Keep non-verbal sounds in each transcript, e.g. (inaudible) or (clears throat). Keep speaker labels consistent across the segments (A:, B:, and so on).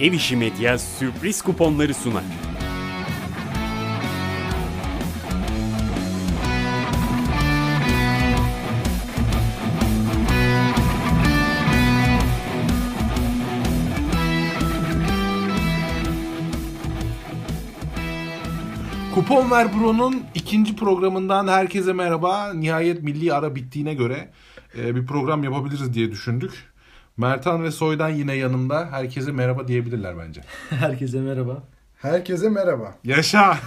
A: Ev İşi Medya sürpriz kuponları sunar.
B: Kupon Ver Pro'nun ikinci programından herkese merhaba. Nihayet milli ara bittiğine göre e, bir program yapabiliriz diye düşündük. Mertan ve Soy'dan yine yanımda. Herkese merhaba diyebilirler bence.
C: Herkese merhaba.
D: Herkese merhaba.
B: Yaşa!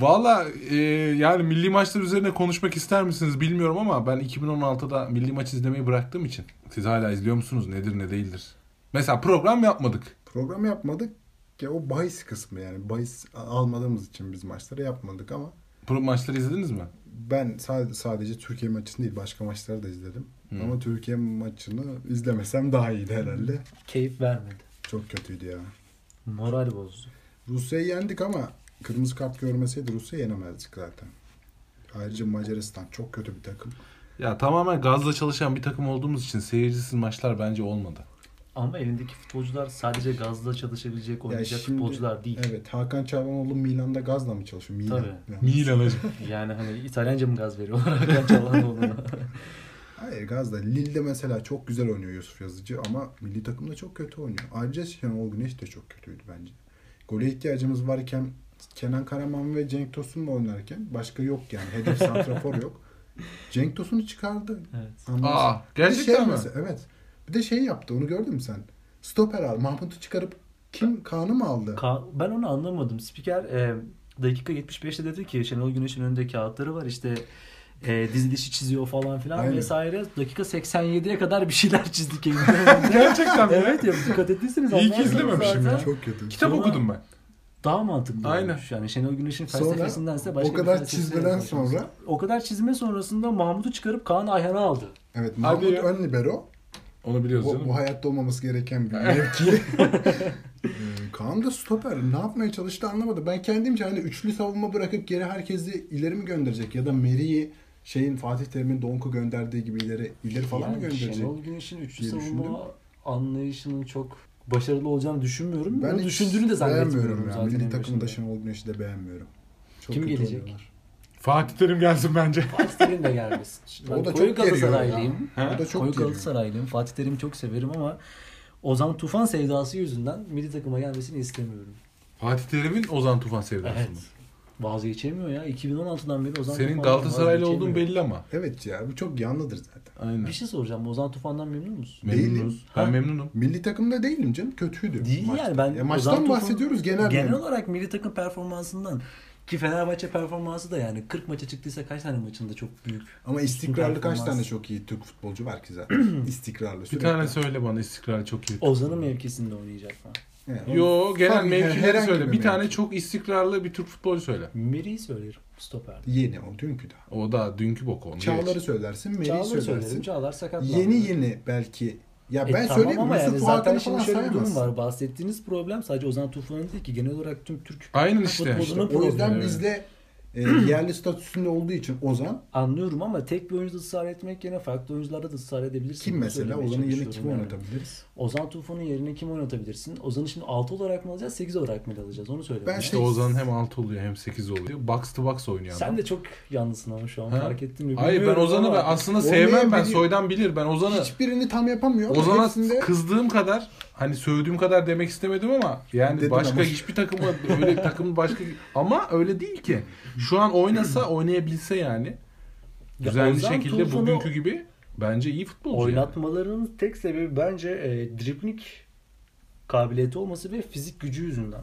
B: Valla e, yani milli maçlar üzerine konuşmak ister misiniz bilmiyorum ama ben 2016'da milli maç izlemeyi bıraktığım için. Siz hala izliyor musunuz? Nedir ne değildir? Mesela program yapmadık.
D: Program yapmadık ya o bahis kısmı yani bahis almadığımız için biz maçları yapmadık ama
B: Pro maçları izlediniz mi?
D: ben sadece, sadece Türkiye maçını değil başka maçları da izledim. Ama Türkiye maçını izlemesem daha iyiydi herhalde.
C: Keyif vermedi.
D: Çok kötüydü ya.
C: Moral bozdu.
D: Rusya'yı yendik ama kırmızı kart görmeseydi Rusya'yı yenemezdik zaten. Ayrıca Macaristan çok kötü bir takım.
B: Ya tamamen gazla çalışan bir takım olduğumuz için seyircisiz maçlar bence olmadı.
C: Ama elindeki futbolcular sadece gazla çalışabilecek,
D: Ya
C: oynayacak
D: şimdi-
C: futbolcular değil.
D: Evet Hakan Çalhanoğlu Milan'da gazla mı çalışıyor? Milan.
C: Tabii.
D: Yani-
B: Milan hacı.
C: Yani hani İtalyanca mı gaz veriyorlar (laughs) Hakan Çalhanoğlu'na?
D: Hayır Gazda. Lille'de mesela çok güzel oynuyor Yusuf Yazıcı ama milli takımda çok kötü oynuyor. Ayrıca Şenol Güneş de çok kötüydü bence. Gole ihtiyacımız varken Kenan Karaman ve Cenk Tosun'la oynarken başka yok yani. Hedef santrafor
B: (laughs)
D: yok. Cenk Tosun'u çıkardı.
C: Evet.
D: Anlamsız.
B: Aa
D: Bir de
B: gerçekten
D: şey
B: mi?
D: mesela- evet. Bir de şey yaptı onu gördün mü sen? Stoper al. Mahmut'u çıkarıp kim? Kaan'ı mı aldı?
C: Ka- ben onu anlamadım. Spiker e, dakika 75'te dedi ki Şenol Güneş'in önünde kağıtları var işte e, dizilişi çiziyor falan filan
D: Aynen.
C: vesaire. Dakika 87'ye kadar bir şeyler çizdik
D: (laughs)
C: evinde.
B: Gerçekten mi?
C: evet ya dikkat ettiyseniz
B: İyi ki
C: anlarsınız
B: izlememişim
C: zaten.
B: ya.
D: çok kötü.
B: Kitap
C: Sonra-
B: okudum ben.
C: Daha mantıklı.
B: Aynen.
C: olmuş. Yani Şenol Güneş'in
D: Sonra
C: felsefesindense başka
D: o
C: bir
D: kadar
C: felsefe
D: çizmeden
C: yapmış.
D: sonra-
C: O kadar çizme sonrasında Mahmut'u çıkarıp Kaan Ayhan'ı aldı.
D: Evet
B: Hadi
D: Mahmut
B: ya.
D: ön libero.
B: Onu biliyoruz
D: Bu, bu
B: canım.
D: hayatta
C: (laughs)
D: olmaması gereken bir mevki. Ee, Kaan da stoper. Ne yapmaya çalıştı anlamadım. Ben kendimce hani üçlü savunma bırakıp geri herkesi ileri mi gönderecek? Ya da Meri'yi şeyin Fatih Terim'in Donk'u gönderdiği gibi ileri ileri falan mı
C: Yani
D: gönderecek?
C: Şenol Güneş'in üçlü
D: diye
C: savunma
D: düşündüm.
C: anlayışının çok başarılı olacağını düşünmüyorum.
D: Ben
C: Ben
D: hiç
C: düşündüğünü de zannetmiyorum
D: beğenmiyorum
C: zaten.
D: ya. Milli
C: en
D: takımda
C: başında.
D: Şenol Güneş'i de beğenmiyorum. Çok
C: Kim
D: kötü
C: gelecek?
D: oynuyorlar.
B: Fatih Terim gelsin bence.
C: Fatih Terim de gelmesin.
D: (laughs) O
C: Ben
D: da
C: koyu
D: çok geriyor ya.
C: Galatasaraylıyım.
B: Ha?
D: O da çok
C: Koyu
D: geliyor.
C: Galatasaraylıyım. Fatih Terim'i çok severim ama Ozan Tufan sevdası yüzünden milli takıma gelmesini istemiyorum.
B: Fatih Terim'in Ozan Tufan sevdası mı?
C: Vazgeçemiyor ya. 2016'dan beri Ozan
B: Senin
C: Tufan'dan
B: Galatasaraylı
C: vazgeçemiyor.
B: olduğun belli ama.
D: Evet ya bu çok yanlıdır zaten.
B: Aynen.
C: Bir şey soracağım. Ozan Tufan'dan memnun musun?
B: Memnunuz.
C: Ha.
B: Ben memnunum.
D: Milli takımda değilim canım. Kötüydü.
C: Değil
D: maçta.
C: yani ben
D: Ya maçtan
C: Ozan Tufan-
D: bahsediyoruz genel.
C: Genel
D: yani.
C: olarak milli takım performansından ki Fenerbahçe performansı da yani 40 maça çıktıysa kaç tane maçında çok büyük.
D: Ama istikrarlı kaç
C: Performans.
D: tane çok iyi Türk futbolcu var
C: (clears throat)
D: ki zaten. istikrarlı
B: Bir
D: sürekli.
B: tane söyle bana istikrar çok iyi.
C: Ozan'ın mevkisinde oynayacak mı?
D: Yani
B: Yo genel
D: Fark-
B: mevkileri
D: herhangi
B: söyle. Bir tane
D: mevki.
B: çok istikrarlı bir Türk futbolcu söyle.
C: Meri'yi söylerim stoperde.
D: Yeni o dünkü daha.
B: O da dünkü bok onu.
D: Çağlar'ı
B: geç.
D: söylersin, Meri'yi
C: Çağlar'ı söylerim.
D: söylersin.
C: Çağlar sakatlandı.
D: yeni yeni belki. Ya
C: E
D: ben
C: tamam
D: söyleyeyim
C: ama
D: mi?
C: yani
D: Yusuf
C: zaten
D: Fuat'ını
C: şimdi
D: falan
C: şöyle bir durum
D: sayamazsın.
C: var. Bahsettiğiniz problem sadece Ozan Tufan'ın değil ki genel olarak tüm Türk
B: Aynen işte.
C: Futbolcu-
D: O yüzden
B: Evet.
D: bizde
C: (clears throat)
D: e, yerli statüsünde olduğu için Ozan
C: anlıyorum ama tek bir oyuncuda ısrar etmek yerine farklı oyuncularda da ısrar edebilirsin.
D: kim
C: Bunu
D: mesela?
C: söylemeye
D: Ozan'ın yerine
C: çalışıyorum
D: kimi
C: yani.
D: oynatabiliriz?
C: Ozan Tufan'ın yerine kim oynatabilirsin? Ozan'ı şimdi 6 olarak mı alacağız 8 olarak mı alacağız onu söyle.
D: Ben
C: bana.
B: İşte Ozan hem 6 oluyor hem 8 oluyor. Box to box oynuyor adam.
C: Sen de çok yalnızsın ama şu an
B: Ha?
C: fark ettin mi?
B: Hayır ben
C: bilmiyorum
B: Ozan'ı
C: ama-
B: ben aslında
D: Olmayan
B: sevmem ben
D: biri-
B: soydan bilir ben Ozan'ı
D: Hiçbirini tam yapamıyor. ama
B: Ozan'a
D: hepsinde
B: kızdığım kadar hani sövdüğüm kadar demek istemedim ama yani
D: Dedin
B: başka
D: ama.
B: hiçbir takıma (laughs) öyle takım başka ama öyle değil ki. Şu an oynasa oynayabilse yani
C: Ya
B: düzenli
C: Ozan
B: şekilde
C: Tufan'ı
B: bugünkü gibi bence iyi futbolcu. yani.
C: Oynatmalarının tek sebebi bence e, dribling kabiliyeti olması ve fizik gücü yüzünden.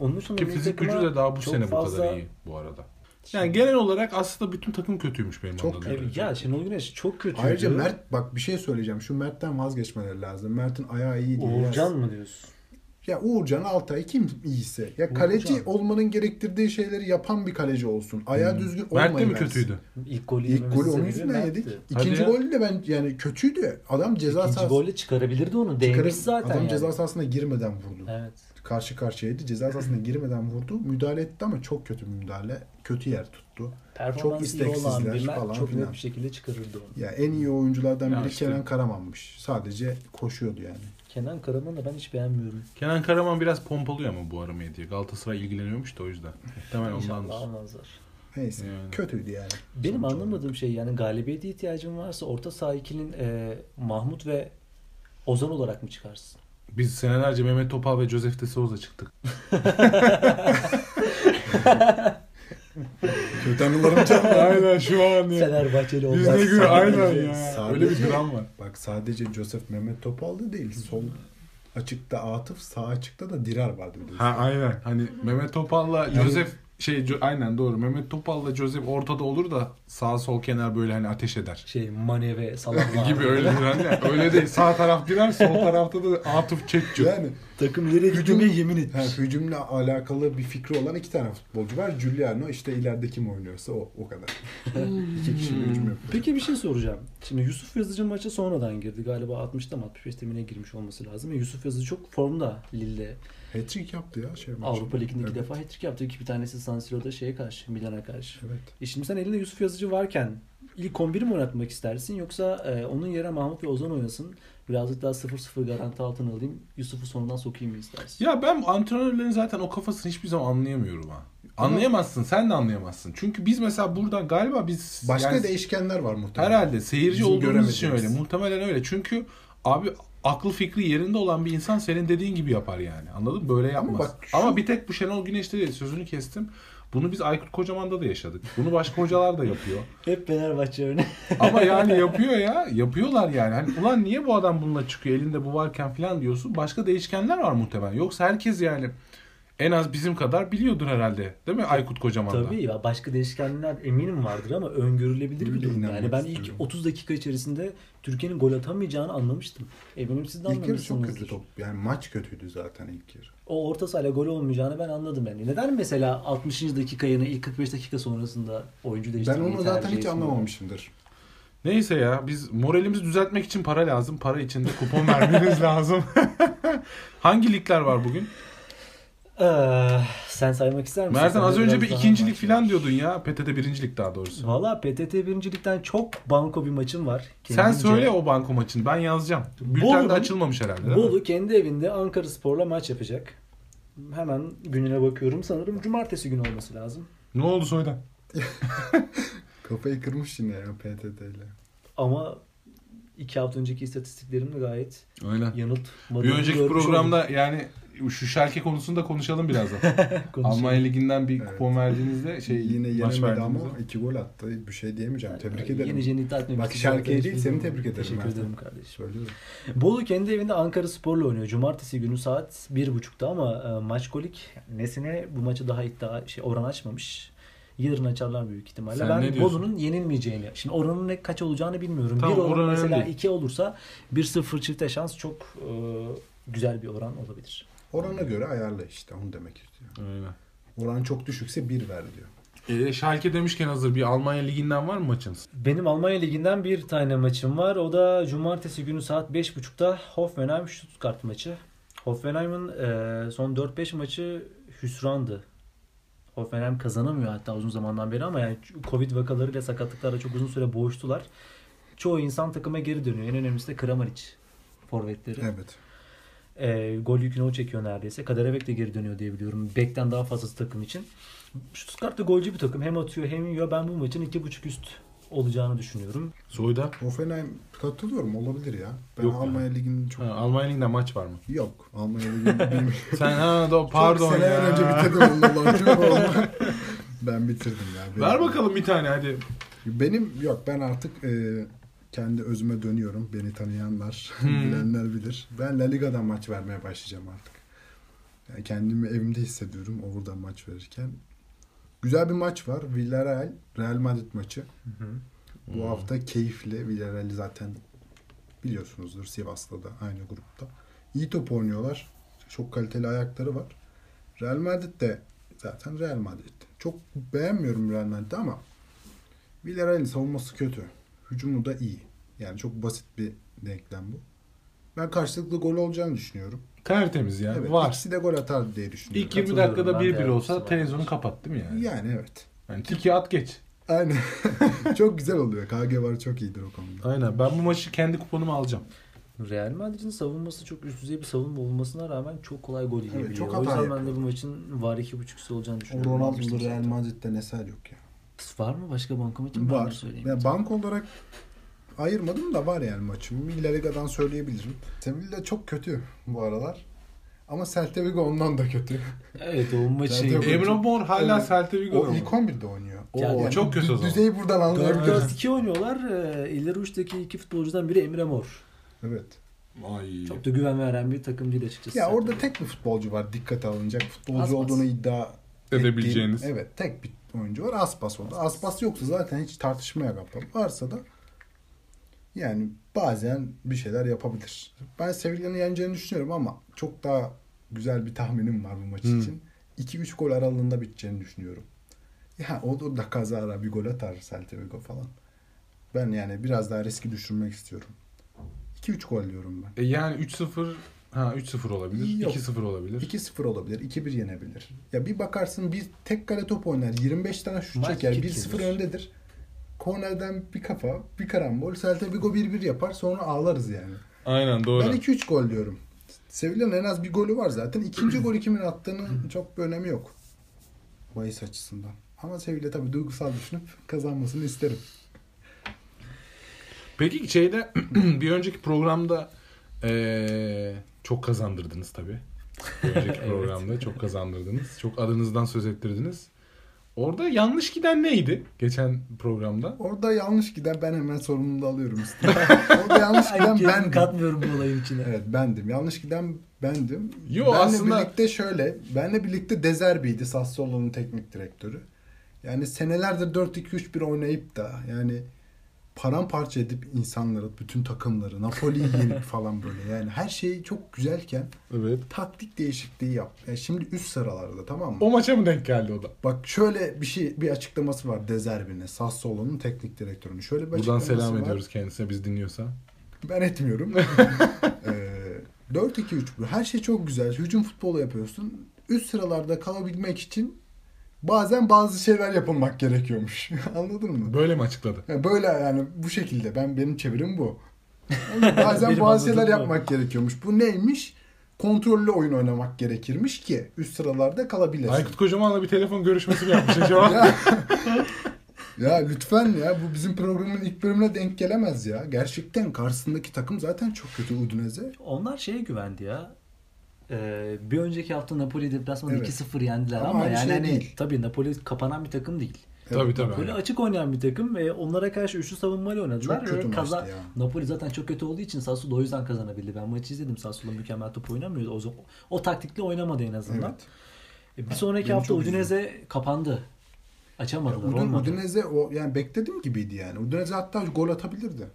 C: Onun için
B: Ki
C: milli
B: fizik
C: takıma
B: gücü de daha bu
C: çok
B: sene bu
C: fazla- E, Şey-
B: kadar iyi bu arada. Yani genel olarak aslında bütün takım kötüymüş benim
D: Çok
B: anladığım.
C: E,
B: kadarıyla.
C: ya Şenol Güneş çok kötü.
D: Ayrıca Mert bak bir şey söyleyeceğim. Şu Mert'ten vazgeçmeleri lazım. Mert'in ayağı iyi değil. Biraz-
C: Uğurcan mı diyorsun?
D: Ya Uğurcan Altay kim iyiyse. Ya kaleci
C: Uğurcan. Hmm.
D: olmanın gerektirdiği şeyleri yapan bir kaleci olsun. Ayağı düzgün olmayı
B: Mert de mi
D: versin.
B: kötüydü?
C: İlk golü
D: İlk
C: yememesi
D: golü onun
C: sebebi
D: yüzünden
C: Mert'ti.
D: yedik.
B: Hadi
D: İkinci
B: ya.
D: golü de ben yani kötüydü. Adam ceza
C: İkinci
D: sahası
C: golü çıkarabilirdi onu.
D: çıkarıp-
C: Değmiş zaten
D: Adam
C: yani.
D: ceza sahasına girmeden vurdu.
C: Evet.
D: karşı karşıyaydı. Ceza sahasına girmeden vurdu. Müdahale etti ama çok kötü bir müdahale. Kötü yer tuttu.
C: Performansı iyi olan
D: isteksizler
C: bir Mert
D: falan
C: çok net
D: filan.
C: bir şey. şekilde çıkarırdı onu.
D: Ya en iyi oyunculardan
B: Ya
D: biri
B: işte.
D: Kenan Karaman'mış. Sadece koşuyordu yani.
C: Kenan Karaman'ı da ben hiç beğenmiyorum.
B: Kenan Karaman biraz pompalıyor ama bu ara medya. Galatasaray ilgileniyormuş da o
C: (laughs)
B: yüzden. Muhtemelen ondandır.
C: İnşallah almazlar.
D: Neyse.
B: Yani.
D: Kötüydü yani.
C: Benim
D: Sonuç
C: anlamadığım şey yani galibiyete ihtiyacın varsa orta saha ikilinin e, Mahmut ve Ozan olarak mı çıkarsın?
B: Biz senelerce Mehmet Topal ve Joseph de Souza çıktık.
D: Kötü anılarım
B: (laughs)
D: canlı.
B: aynen şu an
C: Fenerbahçeli
B: Biz
C: olarak.
B: ne
D: sadece-
B: güzel aynen ya.
D: sadece-
B: Öyle bir dram var.
D: (laughs) Bak sadece Joseph Mehmet Topal da değil. Sol açıkta Atıf, sağ açıkta da Dirar vardı. biliyorsun.
B: Ha aynen. Hani Mehmet Topal'la Joseph şey Jo- aynen doğru. Mehmet Topal'la Joseph ortada olur da sağ sol kenar böyle hani ateş eder.
C: Şey Mane ve Salah
B: gibi öyle yani. Öyle değil. Sağ taraf Dirar, sol tarafta da Atıf Çekçü.
D: Yani
C: Takım nereye
D: gittiğine
C: yemin et.
D: ha, hücumla alakalı bir fikri olan iki tane futbolcu var. Giuliano işte ileride kim oynuyorsa o, o kadar. iki kişiyle hücum yapıyor.
C: Peki bir şey soracağım. Şimdi Yusuf Yazıcı maça sonradan girdi. Galiba 60'ta mı 65'te mi ne girmiş olması lazım. Ve Yusuf Yazıcı çok formda Lille'de.
D: Hat-trick yaptı ya şey maçında.
C: Avrupa Ligi'nde iki
D: Evet,
C: defa hat-trick yaptı. İki bir tanesi San Siro'da şeye karşı, Milan'a karşı.
D: Evet.
C: E şimdi sen elinde Yusuf Yazıcı varken ilk 11'i mi oynatmak istersin yoksa e, onun yerine Mahmut ve Ozan oynasın. Birazcık daha 0-0 garanti altına alayım. Yusuf'u sonradan sokayım mı
D: (laughs)
C: istersin?
B: Ya ben antrenörlerin zaten o kafasını hiçbir zaman anlayamıyorum ha. Anlayamazsın, sen de anlayamazsın. Çünkü biz mesela buradan galiba biz
D: Başka
B: yani
D: değişkenler var muhtemelen.
B: herhalde seyirci
D: Bizim
B: olduğumuz için
D: göremediğimiz.
B: öyle. Muhtemelen öyle. Çünkü abi aklı fikri yerinde olan bir insan senin dediğin gibi yapar yani. Anladın mı? Böyle yapmaz. Ama,
D: bak şu-
B: bir tek bu Şenol Güneş'te değil. Sözünü kestim. Bunu biz Aykut Kocaman'da da yaşadık. Bunu başka hocalar da
D: (laughs)
B: yapıyor.
C: Hep Fenerbahçe örneği.
B: Ama yani yapıyor ya. Yapıyorlar yani. Hani ulan niye bu adam bununla çıkıyor? Elinde bu varken falan diyorsun. Başka değişkenler var muhtemelen. Yoksa herkes yani en az bizim kadar biliyordur herhalde. Değil mi Aykut Kocaman'da?
C: (laughs) Tabii ya başka değişkenler eminim vardır ama öngörülebilir bir
D: Öyle
C: durum. Yani
D: inanmak
C: ben ilk
D: istiyorum.
C: 30 dakika içerisinde Türkiye'nin gol atamayacağını anlamıştım. Eminim siz de
D: İlk yarı çok kötü
C: anlamışsınızdır.
D: top. Yani maç kötüydü zaten ilk yarı.
C: O orta sahayla gol olmayacağını ben anladım yani. Neden mesela 60. dakika yerine ilk 45 dakika sonrasında oyuncu
D: Ben
C: değiştirmeyi
D: onu zaten
C: tercih
D: hiç
C: etmiyor?
D: anlamamışımdır.
B: Neyse ya biz moralimizi düzeltmek için para lazım. Para için de kupon
C: (laughs)
B: vermeniz lazım. (laughs) Hangi ligler var bugün?
C: Ee, sen saymak ister misin?
B: Mertan
C: Sen de
B: az önce
C: biraz
B: bir
C: daha-
B: ikincilik falan diyordun ya. PTT birincilik daha doğrusu.
C: Valla PTT birincilikten çok banko bir maçım var.
B: Sen
C: Kendince.
B: söyle o banko maçını. Ben yazacağım. Bülten de
C: Bolu'nun-
B: açılmamış herhalde. değil mi?
C: Bolu kendi evinde Ankara Spor'la maç yapacak. Hemen gününe bakıyorum. Sanırım cumartesi günü olması lazım.
B: Ne oldu Soydan?
D: Kafayı kırmış yine ya PTT ile.
C: Ama iki hafta önceki istatistiklerimle gayet
B: Öyle.
C: yanıltmadığımı
B: Bir önceki
C: görmüş
B: programda yani şu şarkı konusunda konuşalım birazdan.
C: (laughs) oldum. Konuşalım.
B: Almanya Ligi'nden bir
D: Evet.
B: kupon verdiğinizde şey
D: Yine
B: maç
D: yenemedi
B: verdiğinizde.
D: ama iki gol attı. Bir şey diyemeyeceğim. Tebrik
C: Yani
D: ederim.
C: Yeneceğini iddia etmiyorum.
D: Bak
C: Siz
D: Şerke'yi
C: zaten
D: değil,
C: hiçbir zaman-
D: seni tebrik ederim
C: Teşekkür
D: Mertan.
C: ederim kardeşim.
D: Söylüyorum.
C: Bolu kendi evinde Ankara Spor'la oynuyor. Cumartesi günü saat 1.30'da ama e, maç kolik nesine bu maçı daha iddia şey, oran açmamış. Yarın açarlar büyük ihtimalle.
B: Sen ne
C: ben
B: diyorsun?
C: Bolu'nun yenilmeyeceğini. Şimdi oranın ne kaç olacağını bilmiyorum.
B: Tamam,
C: bir oran
B: oran
C: mesela
B: önemli değil.
C: 2 olursa 1-0 çifte şans çok e, güzel bir oran olabilir.
D: Orana göre ayarla işte. Onu demek istiyor.
B: Aynen.
D: Oran çok düşükse bir ver diyor.
B: Ee, Schalke demişken hazır bir Almanya Ligi'nden var mı maçınız?
C: Benim Almanya Ligi'nden bir tane maçım var. O da cumartesi günü saat 5.30'da Hoffenheim Stuttgart maçı. Hoffenheim'in e, son 4-5 maçı hüsrandı. Hoffenheim kazanamıyor hatta uzun zamandan beri ama yani Covid vakalarıyla sakatlıklarla çok uzun süre boğuştular. Çoğu insan takıma geri dönüyor. En önemlisi de Kramaric forvetleri.
D: Evet.
C: E, gol yükünü o çekiyor neredeyse. Kaderabek de geri dönüyor diye biliyorum. Bekten daha fazlası takım için. Stuttgart da golcü bir takım. Hem atıyor hem yiyor. Ben bu maçın 2.5 üst olacağını düşünüyorum.
B: Soyda.
D: Hoffenheim katılıyorum olabilir ya. Ben
B: Yok
D: Almanya Ligi'nin çok...
B: Ha, Almanya Ligi'nden maç var mı?
D: Yok. Almanya
B: (laughs)
D: Ligi'nin bilmiyorum.
B: Sen ha do, pardon
D: çok seneler
B: ya.
D: önce bitirdim onu. Allah'ım, çok
B: (laughs)
D: oldu. ben bitirdim ya. Benim-
B: Ver bakalım bir tane hadi.
D: Benim yok ben artık e, kendi özüme dönüyorum. Beni tanıyanlar, (laughs) bilenler bilir. Ben La Liga'dan maç vermeye başlayacağım artık. Yani kendimi evimde hissediyorum oradan maç verirken. Güzel bir maç var. Villarreal, Real Madrid maçı. Bu hafta keyifli. Villarreal'i zaten biliyorsunuzdur Sivas'ta da aynı grupta. İyi top oynuyorlar. Çok kaliteli ayakları var. Real Madrid de zaten Real Madrid. Çok beğenmiyorum Real Madrid'i ama Villarreal'in savunması kötü. Hücumu da iyi. Yani çok basit bir denklem bu. Ben karşılıklı gol olacağını düşünüyorum.
B: Tertemiz yani.
D: Evet,
B: Var.
D: İkisi de gol atar diye düşünüyorum.
B: İlk 20
E: Katılıyorum
B: dakikada
E: ben de
B: 1-1 olsa
E: yapmıştım.
B: televizyonu kapat değil mi yani?
D: Yani evet.
B: yani tiki at geç.
D: Aynen. (laughs) çok güzel oluyor. KG var çok iyidir o konuda.
B: Aynen. Ben bu maçı kendi kuponuma alacağım.
C: Real Madrid'in savunması çok üst düzey bir savunma olmasına rağmen çok kolay gol yiyebiliyor.
D: çok
C: o
D: hata
C: yüzden ben
D: yapıyor.
C: de bu maçın var 2.5'sı olacağını
D: O
C: düşünüyorum.
D: Ronaldo'da
C: Madrid'in
D: Real
C: zaten.
D: Madrid'de neser yok ya.
C: Var mı başka bankamatiğim? Ben de
D: Var.
C: söyleyeyim.
D: Ya bank olarak ayırmadım da var yani maçım. La Liga'dan söyleyebilirim. Sevilla çok kötü bu aralar. Ama Celta Vigo ondan da kötü.
C: Evet o maçı.
D: Zaten-
B: Emre Mor hala
D: Evet.
B: Celta Vigo
D: o
B: mu?
D: ilk 11'de oynuyor.
B: Oo,
C: Yani
B: çok kötü o
D: dü-
B: zaman.
D: Düzeyi buradan anlayabiliriz.
C: 4-4-2 oynuyorlar. Ee, ileri uçtaki iki futbolcudan biri Emre Mor.
D: Evet.
B: Ay.
C: Çok da güven veren bir takım değil açıkçası.
D: Ya
C: zaten.
D: orada tek bir futbolcu var dikkate alınacak. Futbolcu
C: Aspas.
D: olduğunu iddia
B: Edebileceğiniz.
D: ettiğim- Evet tek bir oyuncu var. Aspas oldu. Aspas yoksa zaten hiç tartışmaya kapalı. Varsa da yani bazen bir şeyler yapabilir. Ben Sevilla'nın yeneceğini düşünüyorum ama çok daha güzel bir tahminim var bu maç
B: Hmm.
D: için. 2-3 gol aralığında biteceğini düşünüyorum. Ya o da kazara bir gol atar Celta Vigo falan. Ben yani biraz daha riski düşürmek istiyorum. 2-3 gol diyorum ben.
B: E yani 3-0 ha 3-0 olabilir.
D: Yok.
B: 2-0 olabilir.
D: 2-0 olabilir, 2-1 yenebilir. Ya bir bakarsın bir tek kale top oynar, 25 tane şut
C: Maç
D: çeker,
C: kick
D: 1-0
C: yenir.
D: öndedir. Kornerden bir kafa, bir karambol, Celta Vigo 1-1 yapar sonra ağlarız yani.
B: Aynen doğru.
D: Ben 2-3 gol diyorum. Sevilla'nın en az bir golü var zaten. İkinci golü
B: (laughs)
D: kimin attığının çok bir önemi yok. Bahis açısından. Ama Sevilla tabii duygusal düşünüp kazanmasını isterim.
B: Peki şeyde (clears throat) bir önceki programda eee, çok kazandırdınız tabii. Bir
C: (laughs)
B: önceki programda çok kazandırdınız. Çok adınızdan söz ettirdiniz. Orada yanlış giden neydi geçen programda?
D: Orada yanlış giden ben hemen sorumluluğu alıyorum
B: (laughs)
D: üstüne. Orada yanlış
C: Ay,
D: giden
C: kendimi
D: bendim.
C: katmıyorum bu olayın içine.
D: Evet bendim. Yanlış giden bendim.
B: Yo,
D: benle
B: aslında-
D: birlikte şöyle. Benle birlikte Dezerbi'ydi Sassuolo'nun teknik direktörü. Yani senelerdir 4-2-3-1 oynayıp da yani paramparça edip insanları, bütün
B: (laughs)
D: takımları, Napoli'yi yenip falan böyle. Yani her şey çok güzelken
B: Evet.
D: taktik değişikliği yap. Yani şimdi üst sıralarda tamam mı?
B: O maça mı denk geldi o da?
D: Bak şöyle bir şey bir açıklaması var Dezerbi'ne, Sassuolo'nun teknik direktörünün. Şöyle bir
B: Buradan
D: açıklaması
B: selam
D: var.
B: ediyoruz kendisine biz dinliyorsa.
C: (laughs)
D: Ben etmiyorum. ee, 4-2-3-1. Her şey çok güzel. Hücum futbolu yapıyorsun. Üst sıralarda kalabilmek için bazen bazı şeyler yapılmak gerekiyormuş. (laughs) Anladın mı?
B: Böyle mi açıkladı?
D: Yani Böyle yani bu şekilde. Ben benim
C: (laughs)
D: çevirim bu. bazen
C: Benim
D: bazı şeyler
C: anladığım bu.
D: yapmak gerekiyormuş. Bu neymiş? Kontrollü oyun oynamak gerekirmiş ki üst sıralarda kalabilesin.
B: Aykut Kocaman'la bir telefon görüşmesi mi yapmış acaba?
D: (laughs) ya, ya lütfen ya bu bizim programın ilk bölümüne denk gelemez ya. Gerçekten karşısındaki takım zaten çok kötü Udinese.
C: Onlar şeye güvendi ya. Ee, bir önceki hafta Napoli deplasmanı
D: Evet.
C: 2-0 yendiler
D: Ama
C: ama,
D: aynı
C: yani
D: şey
C: hani
D: değil.
C: tabii Napoli kapanan bir takım değil.
B: tabii tabii.
C: Böyle
B: aynen.
C: açık oynayan bir takım ve onlara karşı üçlü savunmayla oynadılar.
D: Çok kötü
C: Ve
D: maçtı
C: kaza-
D: ya.
C: Napoli zaten çok kötü olduğu için Sassuolo o yüzden kazanabildi. Ben maçı izledim. Sassuolo mükemmel top oynamıyordu. O, zaman- o taktikle oynamadı en azından.
D: Evet.
C: E, bir sonraki
D: Beni
C: hafta
D: çok üzdü.
C: Udinese kapandı. Açamadılar.
D: Udin,
C: olmadı.
D: Udinese o yani beklediğim gibiydi yani. Udinese hatta gol atabilirdi.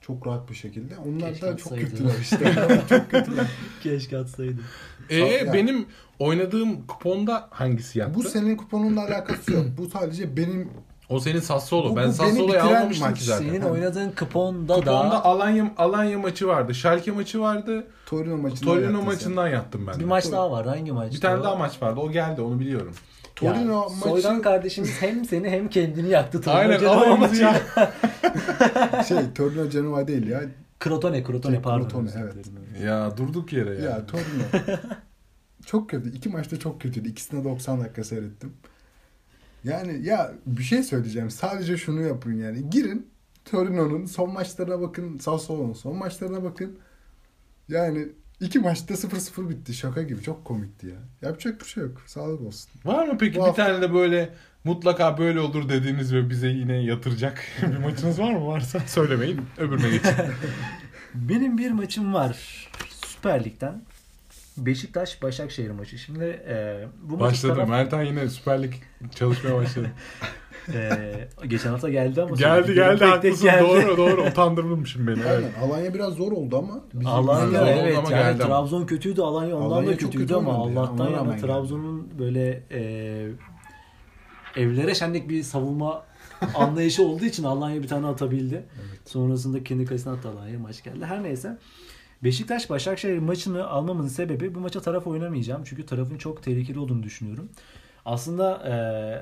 D: Çok rahat bir şekilde. Onlar
C: Keşke
D: da çok
C: atsaydı.
D: kötüler işte.
C: (laughs) Keşke atsaydı.
B: Ee,
D: Ya.
B: benim oynadığım kuponda hangisi yattı?
D: bu senin kuponunla alakası yok. Bu sadece benim
B: O senin Sassuolo. ben
D: Bu- bu beni
B: Sassuolo'yu
D: bitiren
B: almamıştım
D: maç.
B: ki zaten.
C: Senin
D: Ha.
C: oynadığın kuponda,
B: Kuponda
C: da
B: Alanya Alanya maçı vardı. Şalke maçı vardı.
D: Torino maçından
B: Torino
D: yaptın sen.
B: maçından yattım ben.
C: bir
B: de.
C: maç daha var. Hangi maç?
B: Bir tane daha maç vardı. O geldi. Onu biliyorum.
D: Torino maçı
C: Soydan kardeşimiz hem seni hem kendini yaktı. Torino
B: Aynen.
C: Genoa
B: Alayımızı
C: maçı.
B: ya.
D: şey Torino Genoa değil ya.
C: Crotone, Crotone pardon.
D: Crotone,
C: Özür
D: evet.
B: (laughs)
C: dilerim.
B: ya durduk yere ya.
C: (laughs)
D: Ya Torino. çok kötü. İki maçta çok kötüydü. İkisine 90 dakika seyrettim. Yani ya bir şey söyleyeceğim. Sadece şunu yapın yani. Girin Torino'nun son maçlarına bakın. Sassuolo'nun son maçlarına bakın. Yani iki maçta 0-0 bitti. Şaka gibi. Çok komikti ya. Yapacak bir şey yok. Sağlık olsun.
B: Var mı peki
D: Bu
B: bir
D: hafta-
B: tane de böyle mutlaka böyle olur dediğiniz ve bize yine yatıracak (laughs) bir maçınız var mı? Varsa söylemeyin. Öbürüne geçin. (laughs)
C: Benim bir maçım var. Süper Lig'den. Beşiktaş Başakşehir maçı. Şimdi e, bu maç
B: başladı. Mertan yine Süper Lig çalışmaya başladı.
C: E, geçen hafta
B: (laughs)
C: geldi ama
B: geldi
C: söylediklerim
B: geldi
C: tek tek
B: haklısın.
C: geldi.
B: Doğru doğru. Utandırmışım beni. Evet.
D: Aynen. Alanya biraz zor oldu ama. bizim-
C: Alanya
B: Zor oldu
C: evet
B: ama
C: yani
B: geldi ama.
C: Trabzon kötüydü Alanya ondan
D: Alanya
C: da
D: çok
C: kötüydü
D: kötü
C: ama
D: oynadı ya,
C: Allah'tan
D: ona rağmen
C: yana
D: geldi.
C: Trabzon'un böyle e, evlere şenlik bir savunma
D: (laughs)
C: anlayışı olduğu için Alanya bir tane atabildi. Sonrasında kendi kalesine attı Alanya maç geldi. Her neyse Beşiktaş Başakşehir maçını almamın sebebi bu maça taraf oynamayacağım. Çünkü tarafın çok tehlikeli olduğunu düşünüyorum. Aslında